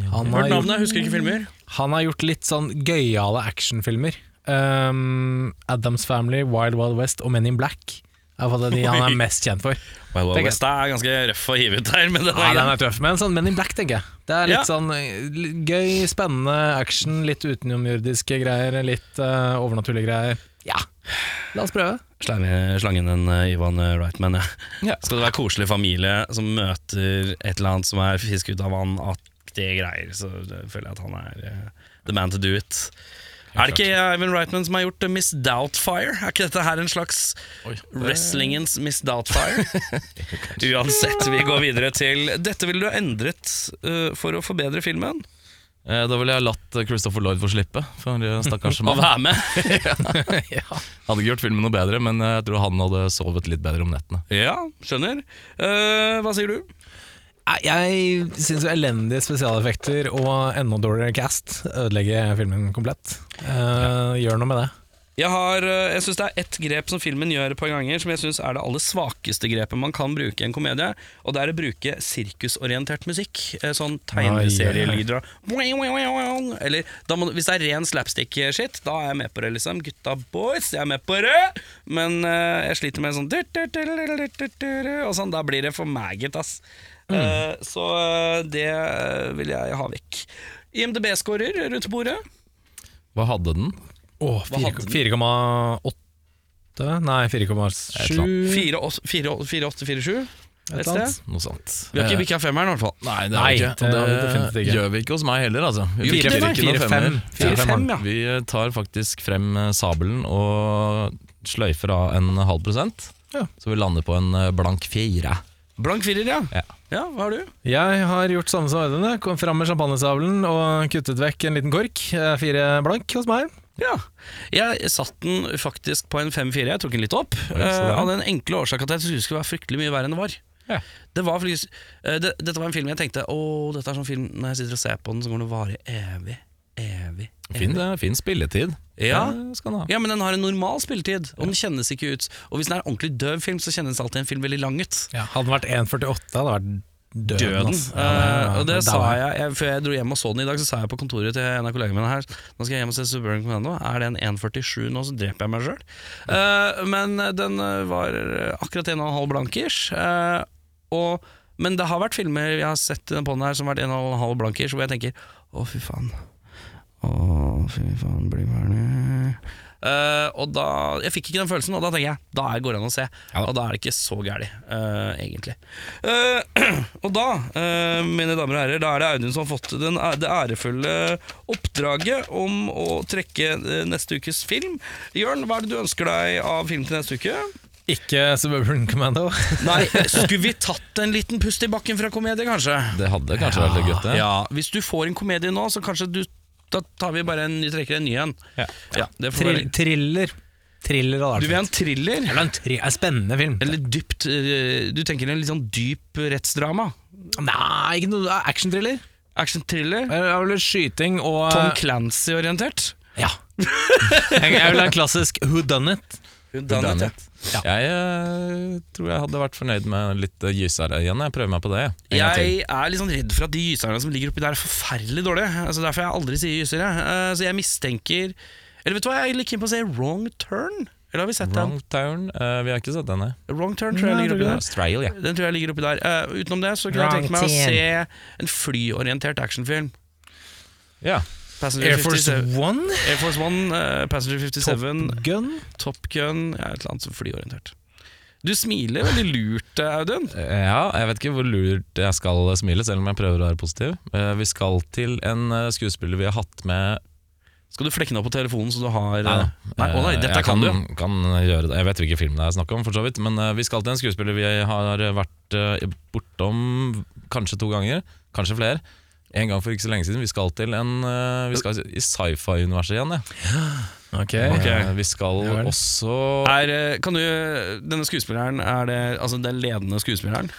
S2: Han har,
S1: Hørt
S2: gjort,
S1: navnet, husker ikke filmer.
S2: han har gjort litt sånn gøyale actionfilmer. Um, Adams Family, Wild Wild West og Men in Black er i hvert fall de han er mest kjent for.
S1: Well,
S2: Tenker-
S1: West er ganske røff å hive ut her, men den
S2: Ja,
S1: er
S2: den er tøff, men sånn Men in Black, tenker jeg. Det er litt
S1: Ja.
S2: sånn eh, litt gøy, spennende action, litt utenomjordiske greier, litt eh, overnaturlige greier. Ja, la oss prøve.
S1: Slange, slangen en eh, Ivan eh, Reitman, ja. Skal det være koselig familie som møter et eller annet som er fisk ut av vann-aktige greier, så eh, føler jeg at han er eh, the man to do it. Er det ikke Ivan Reitman som har gjort eh, Miss Doubtfire? Er ikke dette her en slags
S4: Eh.
S1: wrestlingens Miss Doubtfire? Uansett, vi går videre til Dette ville du ha endret eh, for å forbedre filmen.
S4: Eh, Da ville jeg latt eh, Christopher Lloyd få slippe, for eh, stakkars
S1: Å
S4: mann.
S1: være med!
S4: Hadde ikke gjort filmen noe bedre, men eh, jeg tror han hadde sovet litt bedre om nettene.
S1: ja, skjønner. Eh, hva sier du?
S2: Nei, Jeg syns elendige spesialeffekter og enda dårligere cast ødelegger filmen komplett. Eh, Gjør noe med det.
S1: Jeg, har, eh, jeg syns det er ett grep som filmen gjør et par ganger, som jeg syns er det aller svakeste grepet man kan bruke i en komedie, og det er å bruke sirkusorientert musikk. eh, Sånn tegneserielyder og Eller da må, hvis det er ren slapstick-shit, da er jeg med på det, liksom. Gutta boys, jeg er med på det! Men eh, jeg sliter med sånn Og sånn, da blir det for maggot, ass. Eh, så eh, det eh, vil jeg ha vekk. IMDb-skårer rundt bordet.
S4: Hva hadde den?
S2: Åh,
S1: Hva hadde den?
S2: 4,8 Nei, 4,7
S1: Fire åt- fire åt- fire åtte, fire sju.
S2: Mm. et
S1: et
S2: eller annet.
S1: sted.
S4: Noe sånt.
S1: Vi har
S4: Eh,
S1: ikke bikka femmeren, i hvert fall.
S4: Nei, det,
S2: Nei,
S4: er vi ikke.
S2: det
S4: Og
S2: har vi definitivt ikke.
S4: gjør vi ikke hos meg heller, altså. Vi
S2: Fire,
S4: bikker
S2: fire,
S4: ikke noen
S2: fire,
S4: femmer.
S2: fem. Fire,
S1: fem,
S4: fem,
S1: ja.
S4: Vi tar faktisk frem eh, sabelen og sløyfer av en halv prosent.
S2: Ja.
S4: Så vi lander på en eh, blank fire.
S1: Blank firer, ja.
S4: Ja.
S1: Ja, Hva har du?
S2: Jeg har gjort samme som Audun. jeg. Kom fram med champagnesabelen og kuttet vekk en liten kork. Eh, Fire blank hos meg.
S1: Ja, Jeg satt den faktisk på en 5-4. Jeg tok den litt opp. eh, av den enkle årsak at jeg trodde det skulle være fryktelig mye verre enn det var.
S2: Ja.
S1: Det var faktisk, eh, det, dette var en film jeg tenkte Åh, dette er sånn film når jeg sitter og ser på den, så kommer den å vare evig. Evig.
S4: Fin, eh, fin spilletid.
S1: Ja.
S2: Eh,
S4: Det skal den ha.
S1: Ja, men den har en normal spilletid, og den kjennes ikke ut. Og hvis den er en ordentlig døv film, så kjennes alltid en film veldig lang ut.
S2: Hadde den vært 1,48, hadde det vært døden.
S1: Døden.
S2: ass.
S1: Eh, og det
S2: Der
S1: sa
S2: var
S1: jeg, jeg Før jeg dro hjem og så den i dag, så sa jeg på kontoret til en av kollegene mine her Nå skal jeg hjem og se Suburban Commando. Er det en 1,47 nå, så dreper jeg meg sjøl. men eh, den eh, var eh, akkurat 1,5 blankers. eh, og, men det har vært filmer jeg har sett i den podden her som har vært 1,5 blankers, hvor jeg tenker å, fy faen. Å, fy faen, bli verdig. og da, Jeg fikk ikke den følelsen, og da tenker jeg da er- går det an å se. Og da er det ikke så gærent, egentlig. Eh, og da, eh, mine damer og herrer, da er det Audun som har fått den, æ- det ærefulle oppdraget om å trekke eh, neste ukes film. Jørn, hva er det du ønsker deg av film til neste uke?
S2: Ikke Suburban Commando.
S1: Nei, Skulle vi tatt en liten pust i bakken fra komedie, kanskje?
S4: Det hadde kanskje vært litt gøy, det.
S1: Ja, Hvis du får en komedie nå, så kanskje du da tar vi bare en, vi trekker en ny en.
S2: Ja.
S1: det får
S2: Trill,
S1: være-
S2: thriller. Thriller hadde
S1: Du
S2: vært
S1: vil ha en thriller?
S2: Eller en tri- en spennende film.
S1: Eller dypt eh, Du tenker en litt sånn dyp rettsdrama?
S2: Nei, ikke noe action-thriller.
S1: Action-thriller?
S2: Det er vel skyting og eh,
S1: Tom Clancy-orientert?
S2: Ja. Jeg, jeg vil ha en klassisk who done it.
S4: Damn
S1: Whodunit,
S4: it. Jeg eh, tror jeg hadde vært fornøyd med litt eh, gysere igjen. Jeg prøver meg på det. jeg. En gang til.
S1: Jeg er litt sånn redd for at de gyserne som ligger oppi der, er forferdelig dårlige. Altså Derfor jeg aldri sier gyser. Jeg. Eh, Så jeg mistenker Eller vet du hva, jeg er litt keen på å se Wrong Turn. Eller har vi sett
S4: Wrong Town. eh, vi har ikke sett den, nei.
S1: den? Wrong Turn tror jeg ligger oppi der.
S4: Strail, ja.
S1: Den tror jeg ligger oppi der. Eh, utenom det så kunne jeg
S2: Wrong
S1: tenkt meg å
S2: Turn.
S1: se en flyorientert actionfilm.
S4: ja.
S1: Passenger
S2: Air Force
S1: 57
S2: One,
S1: Air Force One, eh, Passenger 57,
S2: Top Gun.
S1: Top, Gun ja, Et eller annet som flyorientert. Du smiler veldig lurt, eh, Audun.
S4: Ja, jeg vet ikke hvor lurt jeg skal smile, selv om jeg prøver å være positiv. Eh, Vi skal til en eh, skuespiller vi har hatt med
S1: Skal du flekke den opp på telefonen så du har
S4: Nei,
S1: eh, Nei, å nei, dette
S4: jeg
S1: kan, du.
S4: Kan gjøre det. Jeg vet hvilken film det er snakk om, for så vidt. Men eh, vi skal til en skuespiller vi har vært eh, bortom kanskje to ganger, kanskje flere. En gang for ikke så lenge siden. Vi skal til en eh, Vi skal i sci-fi-universet igjen, ja.
S2: Ok,
S1: Ok.
S4: Eh, Vi skal
S2: Ja vel.
S4: også
S1: Er, eh, kan du Denne skuespilleren, er det altså den ledende skuespilleren?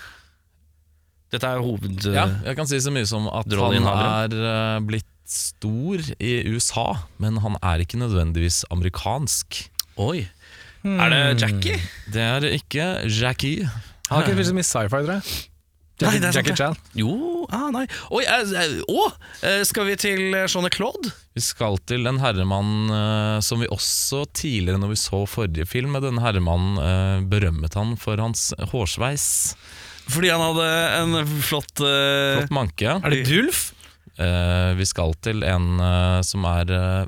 S1: Dette er hoved...
S4: Ja, jeg kan si så mye som at han er eh, blitt stor i USA, men han er ikke nødvendigvis amerikansk.
S1: Oi. Er
S4: Hmm.
S1: det Jackie?
S4: Det er ikke Jackie.
S2: Han har ikke spilt så mye sci-fi, tror jeg.
S1: Nei, det er
S2: Jackie,
S1: sant,
S2: Jackie
S1: det.
S2: Chan.
S1: Jo ah, Nei. Oi, eh, eh, å! eh, skal vi til Jeanne-Claude?
S4: Vi skal til en herremann eh, som vi også tidligere, når vi så forrige film, med denne herremannen eh, berømmet han for hans hårsveis.
S1: Fordi han hadde en flott, eh,
S4: Flott manke.
S2: Er det Dulf?
S4: Eh, vi skal til en eh, som er eh,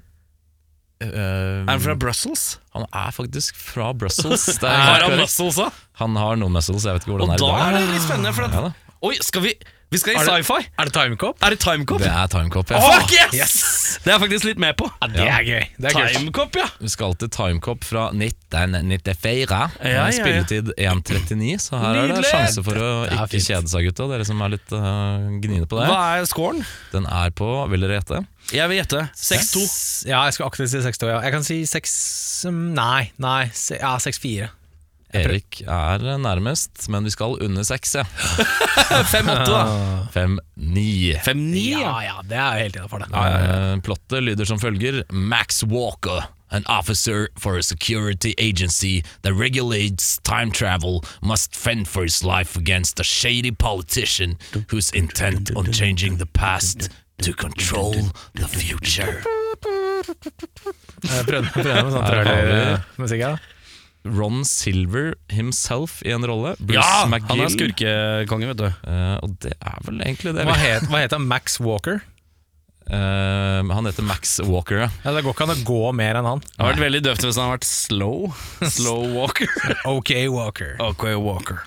S4: eh,
S1: Er han fra Brussels?
S4: han er faktisk fra Brussels. Det er
S1: Har
S4: helt
S1: han
S4: korrekt.
S1: Brussels, da?
S4: han har noen muscles, jeg vet ikke
S1: Og
S4: hvordan det
S1: da
S4: er i dag.
S1: er det litt spennende, for at
S4: Ja da.
S1: Oi, skal vi Vi skal i
S2: Er det-
S1: sci-fi?
S2: Er det Timecop?
S1: Er det timecop?
S4: Det er timecop. Ja.
S1: Fuck yes! Det er jeg faktisk litt med på.
S2: Det er gøy. Det er kult.
S1: Timecop, ja.
S4: Vi skal til timecop fra 1994.
S1: Ja, ja, ja.
S4: Eh, Spilletid 1.39, så her er
S1: Nydelig!
S4: det sjanse for å
S2: Det er
S4: ikke
S2: fint.
S4: kjede seg, gutta. Dere som er litt øh, gniene på det.
S1: Hva er scoren?
S4: Den er på, vil dere gjette?
S1: Jeg vil gjette 6-2.
S2: Ja, jeg skal aktivt si 6-2. Ja. Jeg kan si 6 um, Nei, nei, se- ja, 6-4.
S4: Erik er nærmest, men vi skal under 6, ja.
S1: 5-8, da.
S4: 5-9.
S1: 5-9, ja.
S2: Ja, ja, det er jo helt innafor, det.
S4: Eh, Plottet lyder som følger Max Walker An officer for a security agency that regulates time travel must fend for his life against a shady politician who's intent on changing the past to control the future.
S2: Jeg prøvde, prøvde med sånn
S4: Her har vi-
S2: trøller-musikk.
S4: Ron Silver himself i en rolle. Bruce
S1: Ja,
S4: McGill.
S1: han er skurkekonge, vet du.
S4: Eh, og det er vel egentlig det.
S2: Hva, het- hva heter han? Max Walker?
S4: Eh, han heter Max Walker, ja.
S2: Ja, det går ikke an å gå mer enn han.
S1: Det har vært veldig døvt hvis han har vært slow. Slow walker.
S2: OK Walker.
S1: OK Walker.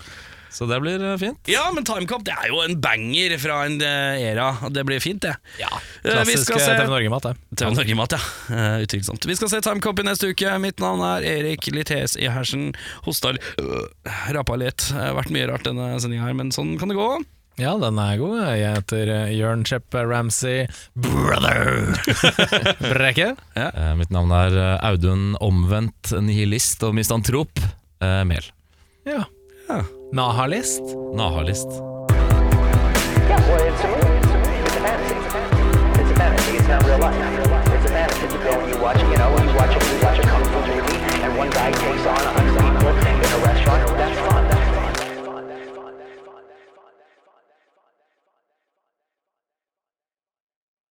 S4: Så det blir eh, fint.
S1: Ja, men Timecop det er jo en banger fra en eh, era. og Det blir fint, det.
S2: Ja,
S1: Eh, vi
S2: Klassisk
S1: skal se-
S2: eh, TV Norge-mat, det.
S1: TV Norge-mat, ja. Eh, utvilsomt. Vi skal se Timecop i neste uke. Mitt navn er Erik Lites i hersen. Hosta litt, øh, rapa litt. Det har vært mye rart denne sendinga her, men sånn kan det gå.
S2: Ja, den er god. Jeg heter eh, Jørn Shep Ramsey Brother Brekke.
S4: Eh, mitt navn er eh, Audun Omvendt, nihilist og misantrop. Eh, Mel.
S2: Ja. Nahalist.
S4: Nahalist.
S3: Yeah, well, it's a movie. It's a movie. It's a fantasy. It's a fantasy. It's not real life.